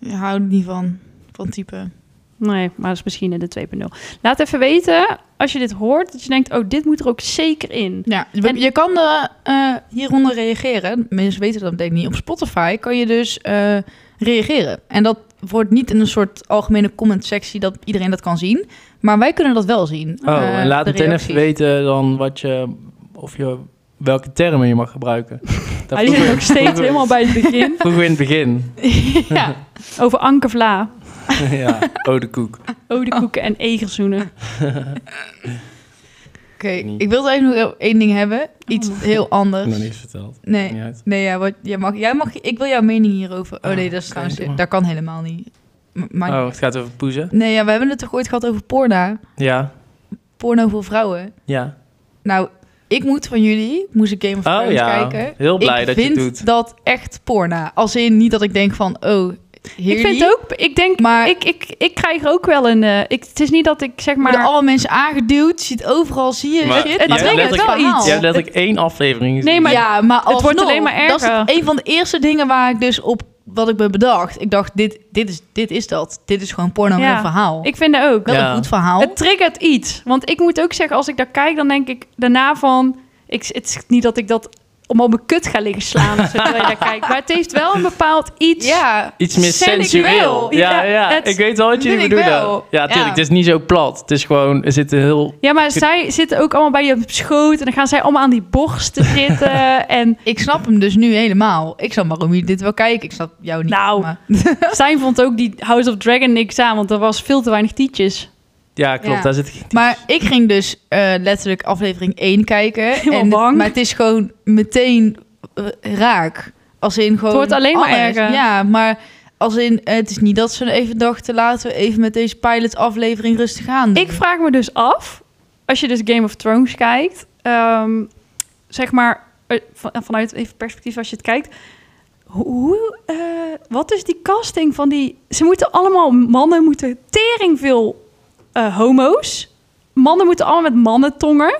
Ik hou er niet van. Van type.
Nee, maar dat is misschien in de 2.0. Laat even weten, als je dit hoort, dat je denkt... oh, dit moet er ook zeker in.
Ja, we-
En-
je kan er, eh, hieronder reageren. Mensen weten dat denk ik niet. Op Spotify kan je dus eh, reageren. En dat wordt niet in een soort algemene comment sectie dat iedereen dat kan zien. Maar wij kunnen dat wel zien.
Oh,
eh,
en laat
de
meteen
reacties.
even weten dan wat je, of je, welke termen je mag gebruiken. Dat
Ah,
Hij zit
vroegen-
nog steeds helemaal bij het begin.
vroegen we in het begin.
ja,
Over ankervla,
ja, oh de koek.
odekoeken
Oh.
en egerzoenen.
oké. Ik wilde even nog heel- één ding hebben. Iets heel
Ik heb nog
anders.
niks verteld.
Nee,
Niet uit.
nee ja, wat, jij mag, jij mag, ik wil jouw mening hierover. Oh
Oh,
nee, dat is
oké,
trouwens,
doe maar.
dat kan helemaal niet. M- maar-
Oh, het gaat over poezen?
Nee, ja, we hebben het toch ooit gehad over porno?
Ja,
Porno voor vrouwen.
ja.
Nou, ik moet van jullie, moest ik Game of Thrones
Oh ja,
kijken.
heel blij
ik
dat je
vind
het doet.
dat echt porna. Als in niet dat ik denk van, oh,
Ik vind het ook, ik denk,
Maar
ik, ik, ik krijg er ook wel een. eh, ik, het is niet dat ik zeg
maar
maar.
allemaal mensen aangeduwd, je ziet overal, zie je
Maar
shit.
je
maar
hebt
het
letterlijk-
wel iets.
Je hebt letterlijk één aflevering gezien.
Nee, maar-
ja, maar
het wordt
alsnog,
alleen maar
Dat is
erger.
het- een van de eerste dingen waar ik dus op, wat ik me bedacht. Ik dacht, dit, dit, is, dit is dat. Dit is gewoon porno met
Ja.
een verhaal.
ik vind dat ook.
wel
Ja.
een goed verhaal.
Het triggert iets. Want ik moet ook zeggen, als ik daar kijk, dan denk ik daarna van. Ik, het is niet dat ik dat om op mijn kut ga liggen slaan. als ik daar kijk. Maar het heeft wel een bepaald iets.
ja,
Iets meer
Sensueel.
sensueel.
Ja,
Ja, ja,
het-
ik weet wel wat
dat
jullie
vind ik wel.
bedoelen. Ja, tuurlijk.
Ja.
Het is niet zo plat. Het is gewoon, er zitten heel...
Ja, maar zij zitten ook allemaal bij je op schoot. En dan gaan zij allemaal aan die borsten zitten. En
ik snap hem dus nu helemaal. Ik snap waarom jullie dit wel kijken. Ik snap jou niet.
Nou,
maar-
Stijn vond ook die House of Dragon niks aan. Want er was veel te weinig tietjes.
Ja, klopt.
Ja.
Daar zit geen-
Maar ik ging dus eh, letterlijk aflevering 1 kijken.
Helemaal
en,
bang.
Maar het is gewoon meteen eh, raak. Als in gewoon
wordt alleen maar
alles.
erger.
Ja, maar als in, eh, het is niet dat ze even dachten... laten we even met deze pilot aflevering rustig aan
Mhm.
doen.
Ik vraag me dus af, als je dus Game of Thrones kijkt, ehm, zeg maar eh, van- vanuit even perspectief als je het kijkt, hoe- hoe, eh, wat is die casting van die? Ze moeten allemaal mannen moeten tering veel eh, homo's mannen moeten allemaal met mannen tongen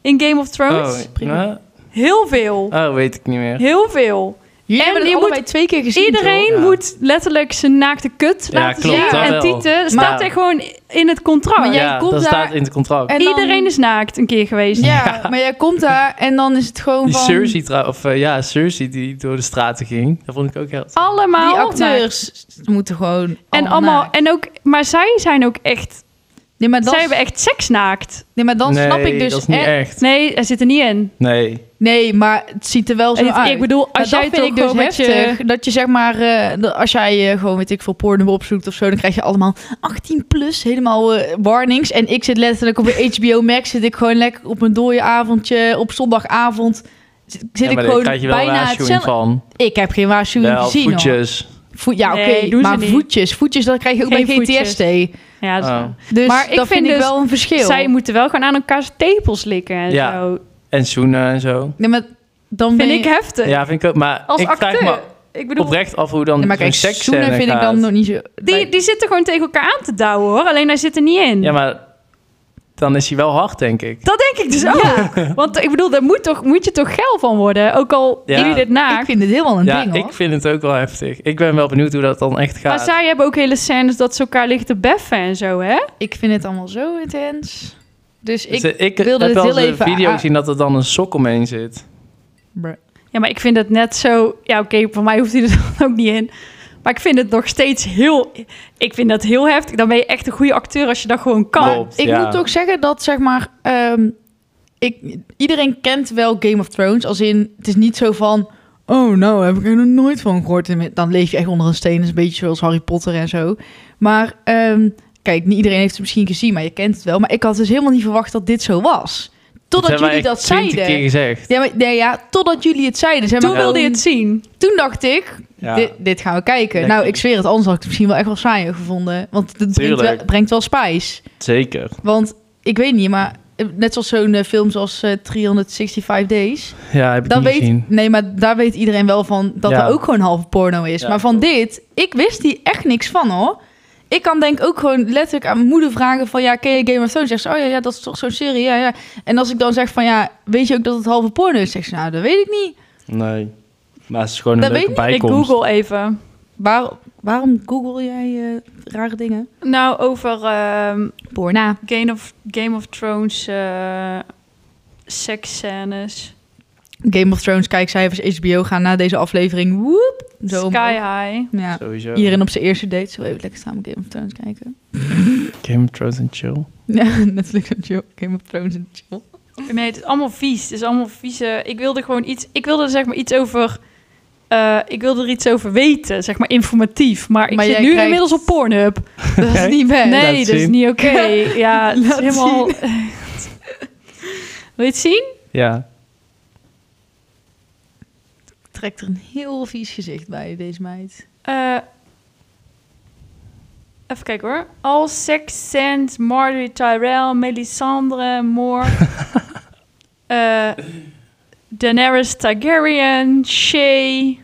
in Game of Thrones.
Oh,
prima.
eh?
Heel veel.
Oh, weet ik niet meer.
Heel veel.
Jullie
En
hebben het
je
allebei twee keer gezien,
Iedereen
toch? Ja.
moet letterlijk zijn naakte kut
Ja,
laten
klopt,
zien.
dat
En
wel.
tieten staat
Maar-
er gewoon in het contract.
Maar jij
ja,
komt
dat
daar-
staat in het contract.
En dan-
Iedereen is naakt een keer geweest.
toch? Ja, maar jij komt daar en dan is het gewoon
Die
van...
Cersei, trouw- of eh, ja, Cersei die door de straten ging. Dat vond ik ook heel...
Ah,
Allemaal
Die Oh,
naakt.
acteurs moeten gewoon...
En allemaal,
naakt.
en ook, maar zij zijn ook echt,
Nee, maar dan,
zij hebben echt seks naakt.
nee, maar dan
nee,
snap ik dus...
dat is niet
eh,
echt.
Nee, hij zit er niet in.
Nee.
Nee, maar het ziet er wel zo
En
uit.
ik bedoel, als
Maar
jij
dat
toch
vind ik dus
gewoon met je-
heftig. Dat je zeg maar, eh, dat als jij eh, gewoon, weet ik veel, porno opzoekt of zo, dan krijg je allemaal 18 plus, helemaal eh, warnings. En ik zit letterlijk op een HBO Max, zit ik gewoon lekker op een dode avondje, op zondagavond. Zit, zit
Ja,
ik
maar daar
gewoon
krijg je wel
bijna
waarschuwing
hetzelfde.
van.
Ik heb geen waarschuwing
Wel,
gezien. hoor.
voetjes.
Voet- ja, oké,
Nee, doen ze
maar
niet.
voetjes. Voetjes, dat krijg je ook
Geen
bij
voetjes.
GTSD.
Ja, dat is
Oh.
waar.
Dus
Maar
maar
ik
ik dat
vind
vind, ik
dus-
wel een verschil.
Zij moeten wel gewoon aan elkaars tepels likken en
Ja.
zo.
En zoenen en zo.
Nee, maar dan ben
Vind
je-
ik heftig.
Ja, vind ik ook. Maar
Als
ik
acteur.
vraag me
Ik bedoel,
oprecht af hoe dan
Nee, maar
zo'n
kijk,
seksscène
zoenen vind ik
gaat.
dan nog niet zo...
die, die zitten gewoon tegen elkaar aan te douwen hoor. Alleen hij zit er niet in.
Ja, maar dan is hij wel hard, denk ik.
Dat denk ik dus ook. Want ik bedoel, daar moet, toch, moet je toch geil van worden. Ook al
Ja.
jullie dit
Ik
naakt.
vind het helemaal een
ja,
ding, hoor.
ik vind het ook wel heftig. Ik ben wel benieuwd hoe dat dan echt
Maar
gaat.
zij hebben ook hele scènes dat ze elkaar liggen te beffen en zo, hè?
Ik vind het allemaal zo intens. Dus ik...
Dus ik
wilde
heb
het
wel eens
heel
een
even
video
aan-
gezien dat er dan een sok omheen zit.
Bruh.
Ja, maar ik vind het net zo... Ja, oké, voor mij hoeft hij er dan ook niet in. Maar ik vind het nog steeds heel... Ik vind dat heel heftig. Dan ben je echt een goede acteur als je dat gewoon kan.
Klopt,
ik
ja.
moet ook zeggen dat, zeg maar... ehm, ik, iedereen kent wel Game of Thrones. Als in, het is niet zo van... Oh, nou heb ik er nog nooit van gehoord. En Dan leef je echt onder een steen. Dat is een beetje zoals Harry Potter en zo. Maar ehm, kijk, niet iedereen heeft het misschien gezien. Maar je kent het wel. Maar ik had dus helemaal niet verwacht dat dit zo was. Totdat
hebben wij
jullie dat
echt 20
zeiden.
keer gezegd.
Ja, maar, nee, ja, totdat jullie het zeiden. Zeg maar,
Toen wilde je het zien.
Toen dacht ik,
Ja.
Dit, dit gaan we kijken.
Lekker.
Nou, ik zweer het, anders had ik het misschien wel echt wel saaier gevonden. Want het brengt
Tuurlijk.
wel, brengt wel spijs.
Zeker.
Want ik weet niet, maar eh, net zoals zo'n eh, film zoals eh, 365 Days.
Ja, heb ik
Dan
niet
weet,
gezien.
nee, maar daar weet iedereen wel van dat
Ja.
er ook gewoon halve porno is.
Ja,
maar van dit, ik wist hier echt niks van hoor. Ik kan denk ook gewoon letterlijk aan mijn moeder vragen van... ja, ken je Game of Thrones? Zegt ze, oh ja, ja dat is toch zo'n serie, ja, ja. En als ik dan zeg van, ja, weet je ook dat het halve porno is? Zegt ze, nou, dat weet ik niet.
Nee. Maar het is gewoon een
Dat
leuke
weet
Ik
bijkomst.
google even.
Waar, waarom google jij eh, rare dingen?
Nou, over ehm,
Porna.
Game, of, Game of Thrones eh seksscènes.
Game of Thrones kijkcijfers HBO gaan na deze aflevering. Woep. Zo omhoog.
Sky High.
Ja.
Sowieso.
Iedereen op zijn eerste date. Zo even lekker samen Game of Thrones kijken.
Game of Thrones en chill.
Ja, Netflix en chill. Game of Thrones en chill.
Nee, het is allemaal vies. Het is allemaal vieze. Ik wilde gewoon iets. Ik wilde er zeg maar iets over. eh, ik wilde er iets over weten, zeg maar informatief. Maar ik
Maar
zit
jij
nu
krijgt-
inmiddels op Pornhub.
Dat is
Kijk.
niet best.
nee,
laat
dat is
zien.
niet oké. ja, het is
Laat
helemaal. Wil je het zien?
Ja.
Trekt er een heel vies gezicht bij, deze meid.
Eh, even kijken hoor. All Sex Sands, Marjorie Tyrell, Melisandre, Moore. eh, Daenerys Targaryen, Shay.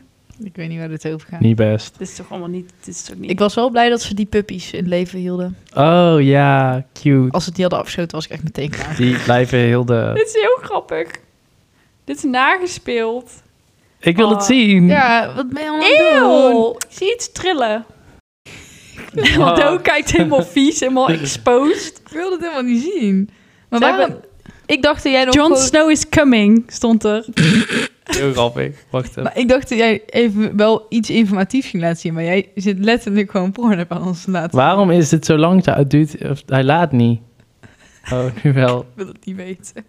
Ik weet niet waar dit over gaat.
Niet best.
Dit is toch allemaal niet. Dit is toch niet.
Ik was wel blij dat ze die puppies in het leven hielden.
Oh ja, cute.
Als ze die hadden afgeschoten, was ik echt meteen klaar.
Die blijven heel de...
Dit is heel grappig. Dit is nagespeeld.
Ik wil het
Oh.
zien.
Ja, wat ben je allemaal aan het doen?
Eeuw! Ik zie iets trillen. Want ook kijkt helemaal vies, helemaal exposed.
Ik wilde het helemaal niet zien. Maar
Zij
waarom... Ik dacht dat jij nog
Jon
gewoon-
Snow is coming, stond er.
Heel grappig. Wacht even.
Eh, Maar ik dacht dat jij even wel iets informatiefs ging laten zien. Maar jij zit letterlijk gewoon porno aan ons te laten.
Waarom is het zo lang? Het duurt... Of, hij laat niet. Oh, nu wel.
Ik wil het niet weten.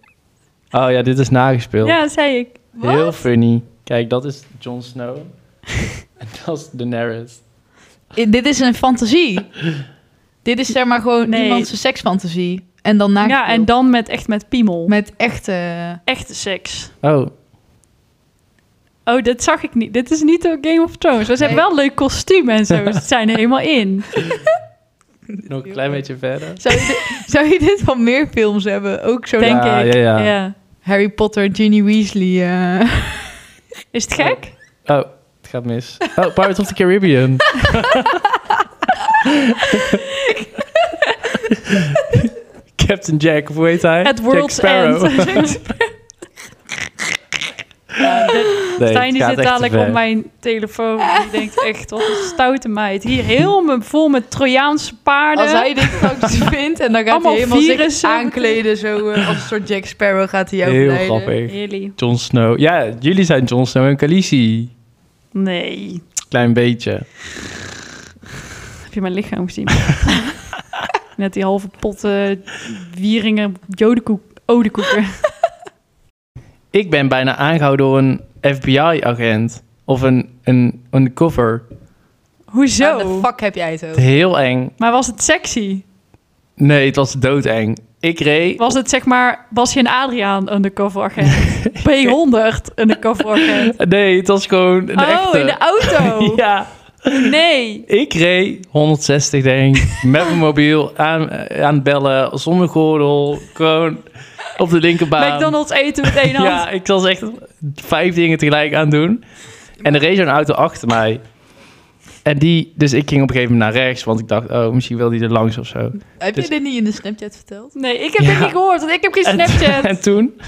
Oh ja, dit is nagespeeld.
Ja, zei ik.
Wat?
Heel funny. Kijk, dat is Jon Snow. en dat is Daenerys.
I- dit is een fantasie. dit is zeg maar gewoon
Nee.
iemand zijn seksfantasie. En dan naakt.
Ja, en dan met, echt met piemel. Met
Met echte...
echte seks.
Oh,
Oh, dat zag ik niet. Dit is niet door Game of Thrones. Maar ze hebben wel een leuk kostuum en zo. Ze zijn er helemaal in.
nog een klein beetje verder.
Zou je, dit, zou je dit van meer films hebben? Ook zo'n
Denk
Ja,
ik.
ja, ja.
Harry Potter, Ginny Weasley. eh.
Is het gek?
Oh, het gaat mis. Oh, Pirates of the Caribbean. Captain Jack, of hoe heet hij?
Het
Jack
World's
Sparrow.
End. Ja, dit-
Nee,
Stijn die
het
zit
gaat echt te
dadelijk
ver.
op mijn telefoon. Die denkt echt, wat een stoute meid. Hier heel me- vol met Trojaanse paarden.
Als hij dit straks vindt en dan gaat
Allemaal
hij helemaal zich
virussen.
aankleden, zo eh, als een soort Jack Sparrow gaat hij jou
Heel
verleiden.
grappig.
Really?
Jon Snow. Ja, jullie zijn Jon Snow en Khaleesi.
Nee.
Klein beetje.
Heb je mijn lichaam gezien? Net die halve pot eh, wieringen, jodenkoek, odekoeken.
Ik ben bijna aangehouden door een FBI-agent. Of een, een undercover.
Zo.
Hoezo?
de fuck heb jij het over?
Heel eng.
maar was het sexy?
Nee, het was doodeng. Ik reed...
Was het zeg maar Basje en Adriaan undercover agent? P100 undercover agent?
Nee, het was gewoon een
oh,
echte.
in de auto?
Ja.
Nee.
Ik reed 160, denk ik, met mijn mobiel aan, eh, aan het bellen, zonder gordel, gewoon op de linkerbaan.
McDonald's eten met één hand.
Ehm. Ja, ik was echt vijf dingen tegelijk aan het doen. En er reed zo'n auto achter mij. En die, dus ik ging op een gegeven moment naar rechts, want ik dacht, oh, misschien wil die er langs of zo.
Heb
Dus-
je dit niet in de Snapchat verteld?
Nee, ik heb
Ja.
dit niet gehoord, want ik heb geen
En,
Snapchat.
en toen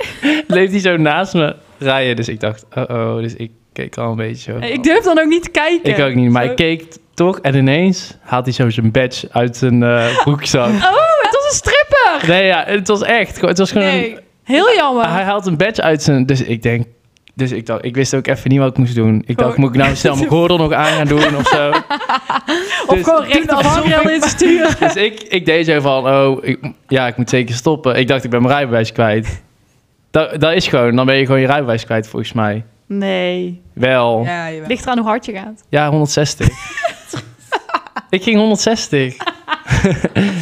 bleef die zo naast me rijden, dus ik dacht, oh, oh, dus ik keek al een beetje zo.
Nee, ik durf dan ook niet te kijken.
Ik ook niet, maar
Zo-
ik keek toch en ineens haalt hij zo zijn badge uit zijn eh, broekzak.
Oh, het was een stripper.
Nee, ja, het was echt. gewoon- Het was gewoon.
Nee.
Heel jammer.
een- hij haalt een badge uit zijn. Dus ik denk. Dus ik dacht, ik wist ook even niet wat ik moest doen. Ik dacht,
Gewoon-
moet ik nou snel mijn gordel nog aan gaan doen of zo?
of
dus-
gewoon
Toen
recht de
alsof
vangrail
ik-
in te sturen.
Dus ik, ik deed zo van, oh, ik, ja, ik moet zeker stoppen. Ik dacht, ik ben mijn rijbewijs kwijt. Dat, dat is gewoon, dan ben je gewoon je rijbewijs kwijt volgens mij.
Nee.
Wel, ja,
Ja, jawel.
Ligt eraan hoe hard je gaat.
160. ik ging 160.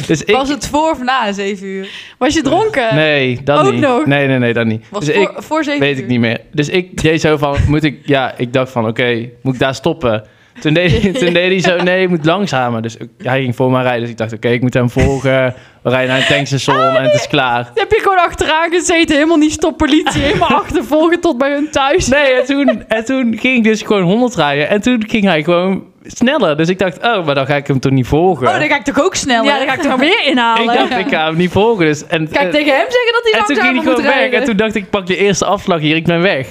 dus ik,
Was het voor of na 7 uur?
Was je dronken?
Nee, dat
eh, Ook
niet.
nog?
Nee, nee, nee, dat niet.
Was
dus
voor,
ik
voor 7 uur?
weet ik niet meer. Dus ik deed zo van, moet ik, ja, ik dacht van, oké, moet ik daar stoppen? Toen deed, hij- toen deed hij zo, nee, ik moet langzamer. Dus ik- hij ging voor mij rijden, dus ik dacht, oké, ik moet hem volgen. We rijden naar een tankstation
Oh,
en het is klaar.
Dan heb je gewoon achteraan gezeten, helemaal niet stop politie, helemaal achtervolgen tot bij hun thuis.
Nee, en toen, en toen ging ik dus gewoon 100 rijden. En toen ging hij gewoon sneller. Dus ik dacht, oh, maar dan ga ik hem toch niet volgen.
Oh, dan ga ik toch Eh, ook sneller?
Ja, dan ga ik er gewoon weer inhalen.
ik dacht, ik ga hem niet volgen. Dus, en,
Kijk
en,
tegen hem zeggen dat hij
en toen ging hij
langzamer moet
gewoon weg.
rijden.
En toen dacht ik, pak de eerste afslag hier, ik ben weg.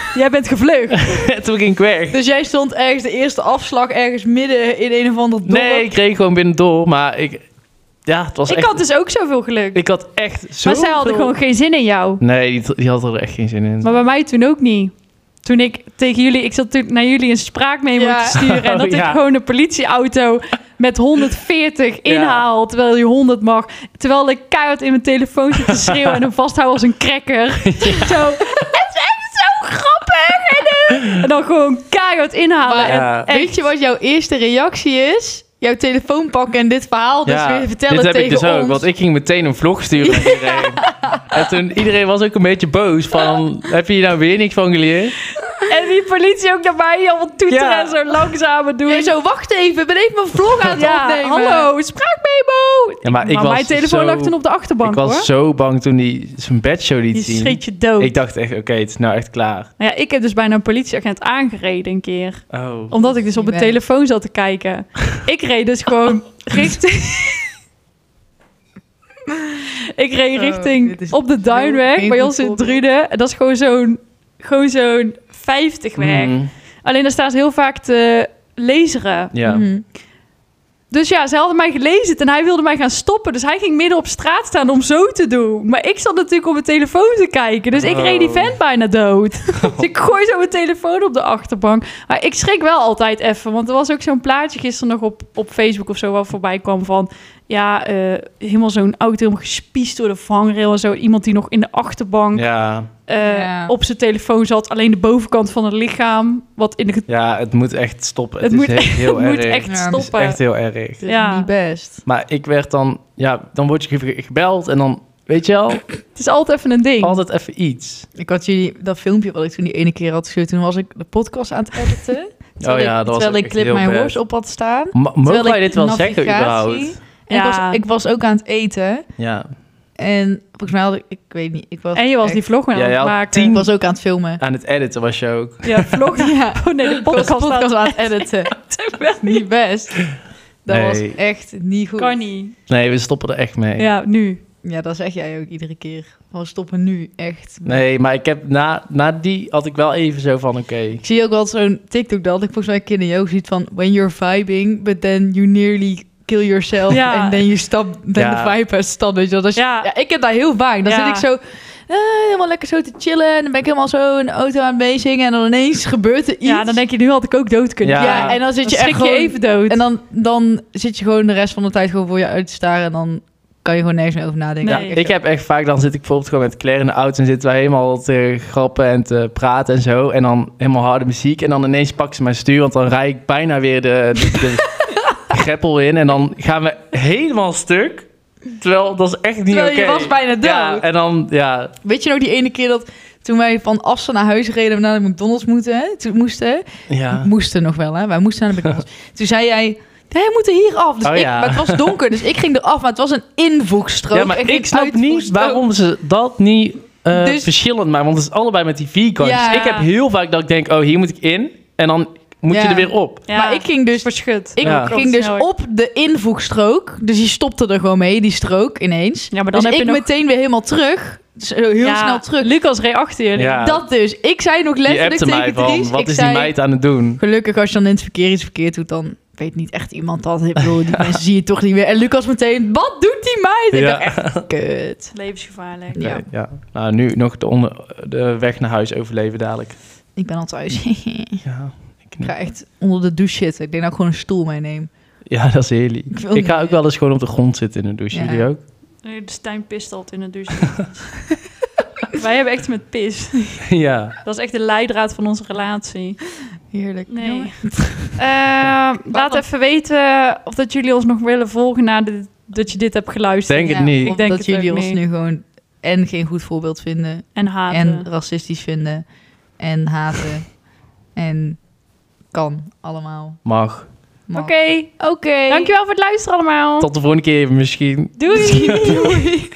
Jij bent gevleugd.
En toen ging ik weg.
Dus jij stond ergens de eerste afslag ergens midden in een of ander dorp.
Nee, ik reed gewoon binnen door, maar ik... Ja, het was
Ik
echt...
had dus ook zoveel geluk.
Ik had echt zo
maar zij hadden gewoon geen zin in jou.
Nee, die, die had er echt geen zin in.
Maar bij mij toen ook niet. Toen ik tegen jullie, ik zat toen naar jullie een spraakmemo
Ja.
te sturen. En dat
Oh, ja.
ik gewoon een politieauto met 140 inhaal, terwijl je 100 mag. Terwijl ik keihard in mijn telefoon zit te schreeuwen en hem vasthouden als een cracker. Zo, het is echt zo grappig. En, eh, en dan gewoon keihard inhalen.
Maar,
en,
ja.
echt.
Weet je wat jouw eerste reactie is? Jouw telefoon pakken en dit verhaal dus weer vertellen
dit heb
tegen
ik dus ook,
ons.
want ik ging meteen een vlog sturen naar iedereen. En toen, iedereen was ook een beetje boos van, heb je hier nou weer niks van geleerd?
en die politie ook naar mij allemaal toeteren
Ja.
en zo langzamer doen.
Doe je zo, wacht even, ik ben even mijn vlog aan het
ja,
opnemen.
hallo, spraakmemo.
Ja, maar ik was
mijn telefoon
zo-
lag toen op de achterbank
ik was
hoor.
zo bang toen die zijn bedshow liet
Je
zien.
schrikt je dood.
Ik dacht echt, oké, het is nou echt klaar.
Nou ja, ik heb dus bijna een politieagent aangereden een keer.
Oh.
Omdat ik dus op
Niet
mijn
weg.
telefoon zat te kijken. Ik reed dus gewoon
Oh.
richting... ik reed
Oh,
richting
dit is
op de
zo'n
Duinweg bij
painful
ons in
voorbeeld.
Drunen. En dat is gewoon zo'n gewoon zo'n 50 weg.
Mm,
Alleen daar staat heel vaak te laseren.
ja.
Mhm.
Dus ja, ze hadden mij gelezen en hij wilde mij gaan stoppen. Dus hij ging midden op straat staan om zo te doen. Maar ik zat natuurlijk op mijn telefoon te kijken. Dus ik
Oh.
reed die vent bijna dood. Dus ik gooi zo mijn telefoon op de achterbank. Maar ik schrik wel altijd even. Want er was ook zo'n plaatje gisteren nog op, op Facebook of zo... wat voorbij kwam van... ja, eh, helemaal zo'n auto helemaal gespiesd door de vangrail en zo. Iemand die nog in de achterbank
Ja.
eh,
Ja.
op zijn telefoon zat. Alleen de bovenkant van het lichaam. Wat in de... ge-
ja, het moet echt stoppen. Het,
Het
is
moet-
echt heel erg.
moet echt
Ja, het is
Het is
stoppen.
echt heel erg.
Dit is
Ja.
niet best.
Maar ik werd dan, ja, dan word je ge- gebeld en dan, weet je wel,
Het is altijd even een ding.
altijd even iets.
Ik had jullie dat filmpje wat ik toen die ene keer had gestuurd. Toen was ik de podcast aan het editen. Terwijl
Oh ja, dat
ik,
was
terwijl
ook
ik
echt
Clip
heel
mijn
bad.
horse op had staan.
M- mogen
Terwijl
wij
ik
dit wel
navigatie-
zeggen überhaupt?
En ik,
Ja.
was, ik was ook aan het eten.
Ja,
En volgens mij had ik, ik weet niet, ik was,
En je was
echt-
die vlog weer
Ja,
aan
jij
het
had
maken.
ik was ook aan het filmen.
aan het editen was je ook.
Ja, vlog.
Ja, ik
Oh nee, de
was
podcast,
de podcast
staat-
aan het editen. niet best. Dat
Nee.
was echt niet goed.
Kan niet.
Nee, we stoppen er echt mee.
Ja, nu.
Ja, dat zeg jij ook iedere keer. Van stoppen nu, echt.
Nee, maar ik heb na, na die had ik wel even zo van, oké.
Ik zie ook wel zo'n TikTok dat ik volgens mij kinderen ook ziet van... When you're vibing, but then you nearly kill yourself.
Ja.
And then you stop, then
Ja.
the vibe has stopped. Weet je wel. Dat is-
Ja.
ja, ik heb daar heel vaak. Dan
Ja.
zit ik zo eh, helemaal lekker zo te chillen. En dan ben ik helemaal zo in de auto aan het meezingen. En dan ineens gebeurt er iets.
Ja, dan denk je, nu had ik ook dood kunnen.
ja.
Ja.
en dan zit
Dan
je echt
schrik je
gewoon...
even dood.
En dan, dan zit je gewoon de rest van de tijd gewoon voor je uit te staren. En dan kan je gewoon nergens meer over nadenken.
Ja,
Nee.
ik heb echt vaak, dan zit ik bijvoorbeeld gewoon met Claire in de auto en zitten wij helemaal te grappen en te praten en zo. En dan helemaal harde muziek en dan ineens pak ze mijn stuur, want dan rijd ik bijna weer de, de, de greppel in. En dan gaan we helemaal stuk, terwijl dat is echt niet oké.
Terwijl je was bijna dood.
Ja, en dan, ja,
Weet je nog die ene keer dat toen wij van Assen naar huis reden... we naar de McDonald's moeten, hè? toen moesten...
ja.
Moesten nog wel, hè? Wij moesten naar de McDonald's. Toen zei jij, jij moet er hier af. Dus
Oh,
ik,
ja.
Maar het was donker, dus ik ging eraf. Maar het was een invoegstrook.
ja, maar
en
ik
geen
snap niet
uitvoegstrook.
waarom ze dat niet eh,
Dus-
verschillend maken, want het is allebei met die vierkantjes.
Ja.
Ik heb heel vaak dat ik denk, oh hier moet ik in en dan moet
Ja.
je er weer op.
Ja.
Maar ik ging dus...
verschut.
Ik
Ja.
ging dus op de invoegstrook. Dus die stopte er gewoon mee, die strook, ineens.
Ja, maar dan
dus
heb
ik
je nog...
meteen weer helemaal terug. Zo heel
Ja,
snel terug.
Lucas reed achter je.
Ja.
Dat dus. Ik zei nog
Je
letterlijk
appte
tegen
mij van,
Dries,
wat
ik
is
zei,
die meid aan het doen?
Gelukkig als je dan in het verkeer iets verkeerd doet, dan weet niet echt iemand dat. Ik bedoel, die mensen zie je toch niet meer. En Lucas meteen, wat doet die meid? Ik
Ja.
dacht echt, kut.
Levensgevaarlijk.
Ja.
Nee, ja. Nou, nu nog de, onder, de weg naar huis overleven dadelijk.
Ik ben al thuis. ik
Ja, ik niet.
ga echt onder de douche zitten. Ik denk dat ik gewoon een stoel meeneem.
ja dat is heerlijk.
Ik
Ik,
wil
ga
niet.
ook wel eens gewoon op de grond zitten in de douche.
Ja.
Jullie ook?
Nee, de Stijn pist altijd in de douche. Wij hebben echt met pis.
ja.
Dat is echt de leidraad van onze relatie.
Heerlijk.
Nee. Eh,
Jongen.
laat even weten of dat jullie ons nog willen volgen na dit- dat je dit hebt geluisterd.
Denk het niet.
Ik denk
Ik denk dat
het ook
jullie ons
niet.
nu gewoon en geen goed voorbeeld vinden.
En haten.
En racistisch vinden. En haten. en kan allemaal.
Mag.
Mag.
Oké. Oké. Dankjewel voor het luisteren allemaal.
Tot de volgende keer misschien.
Doei.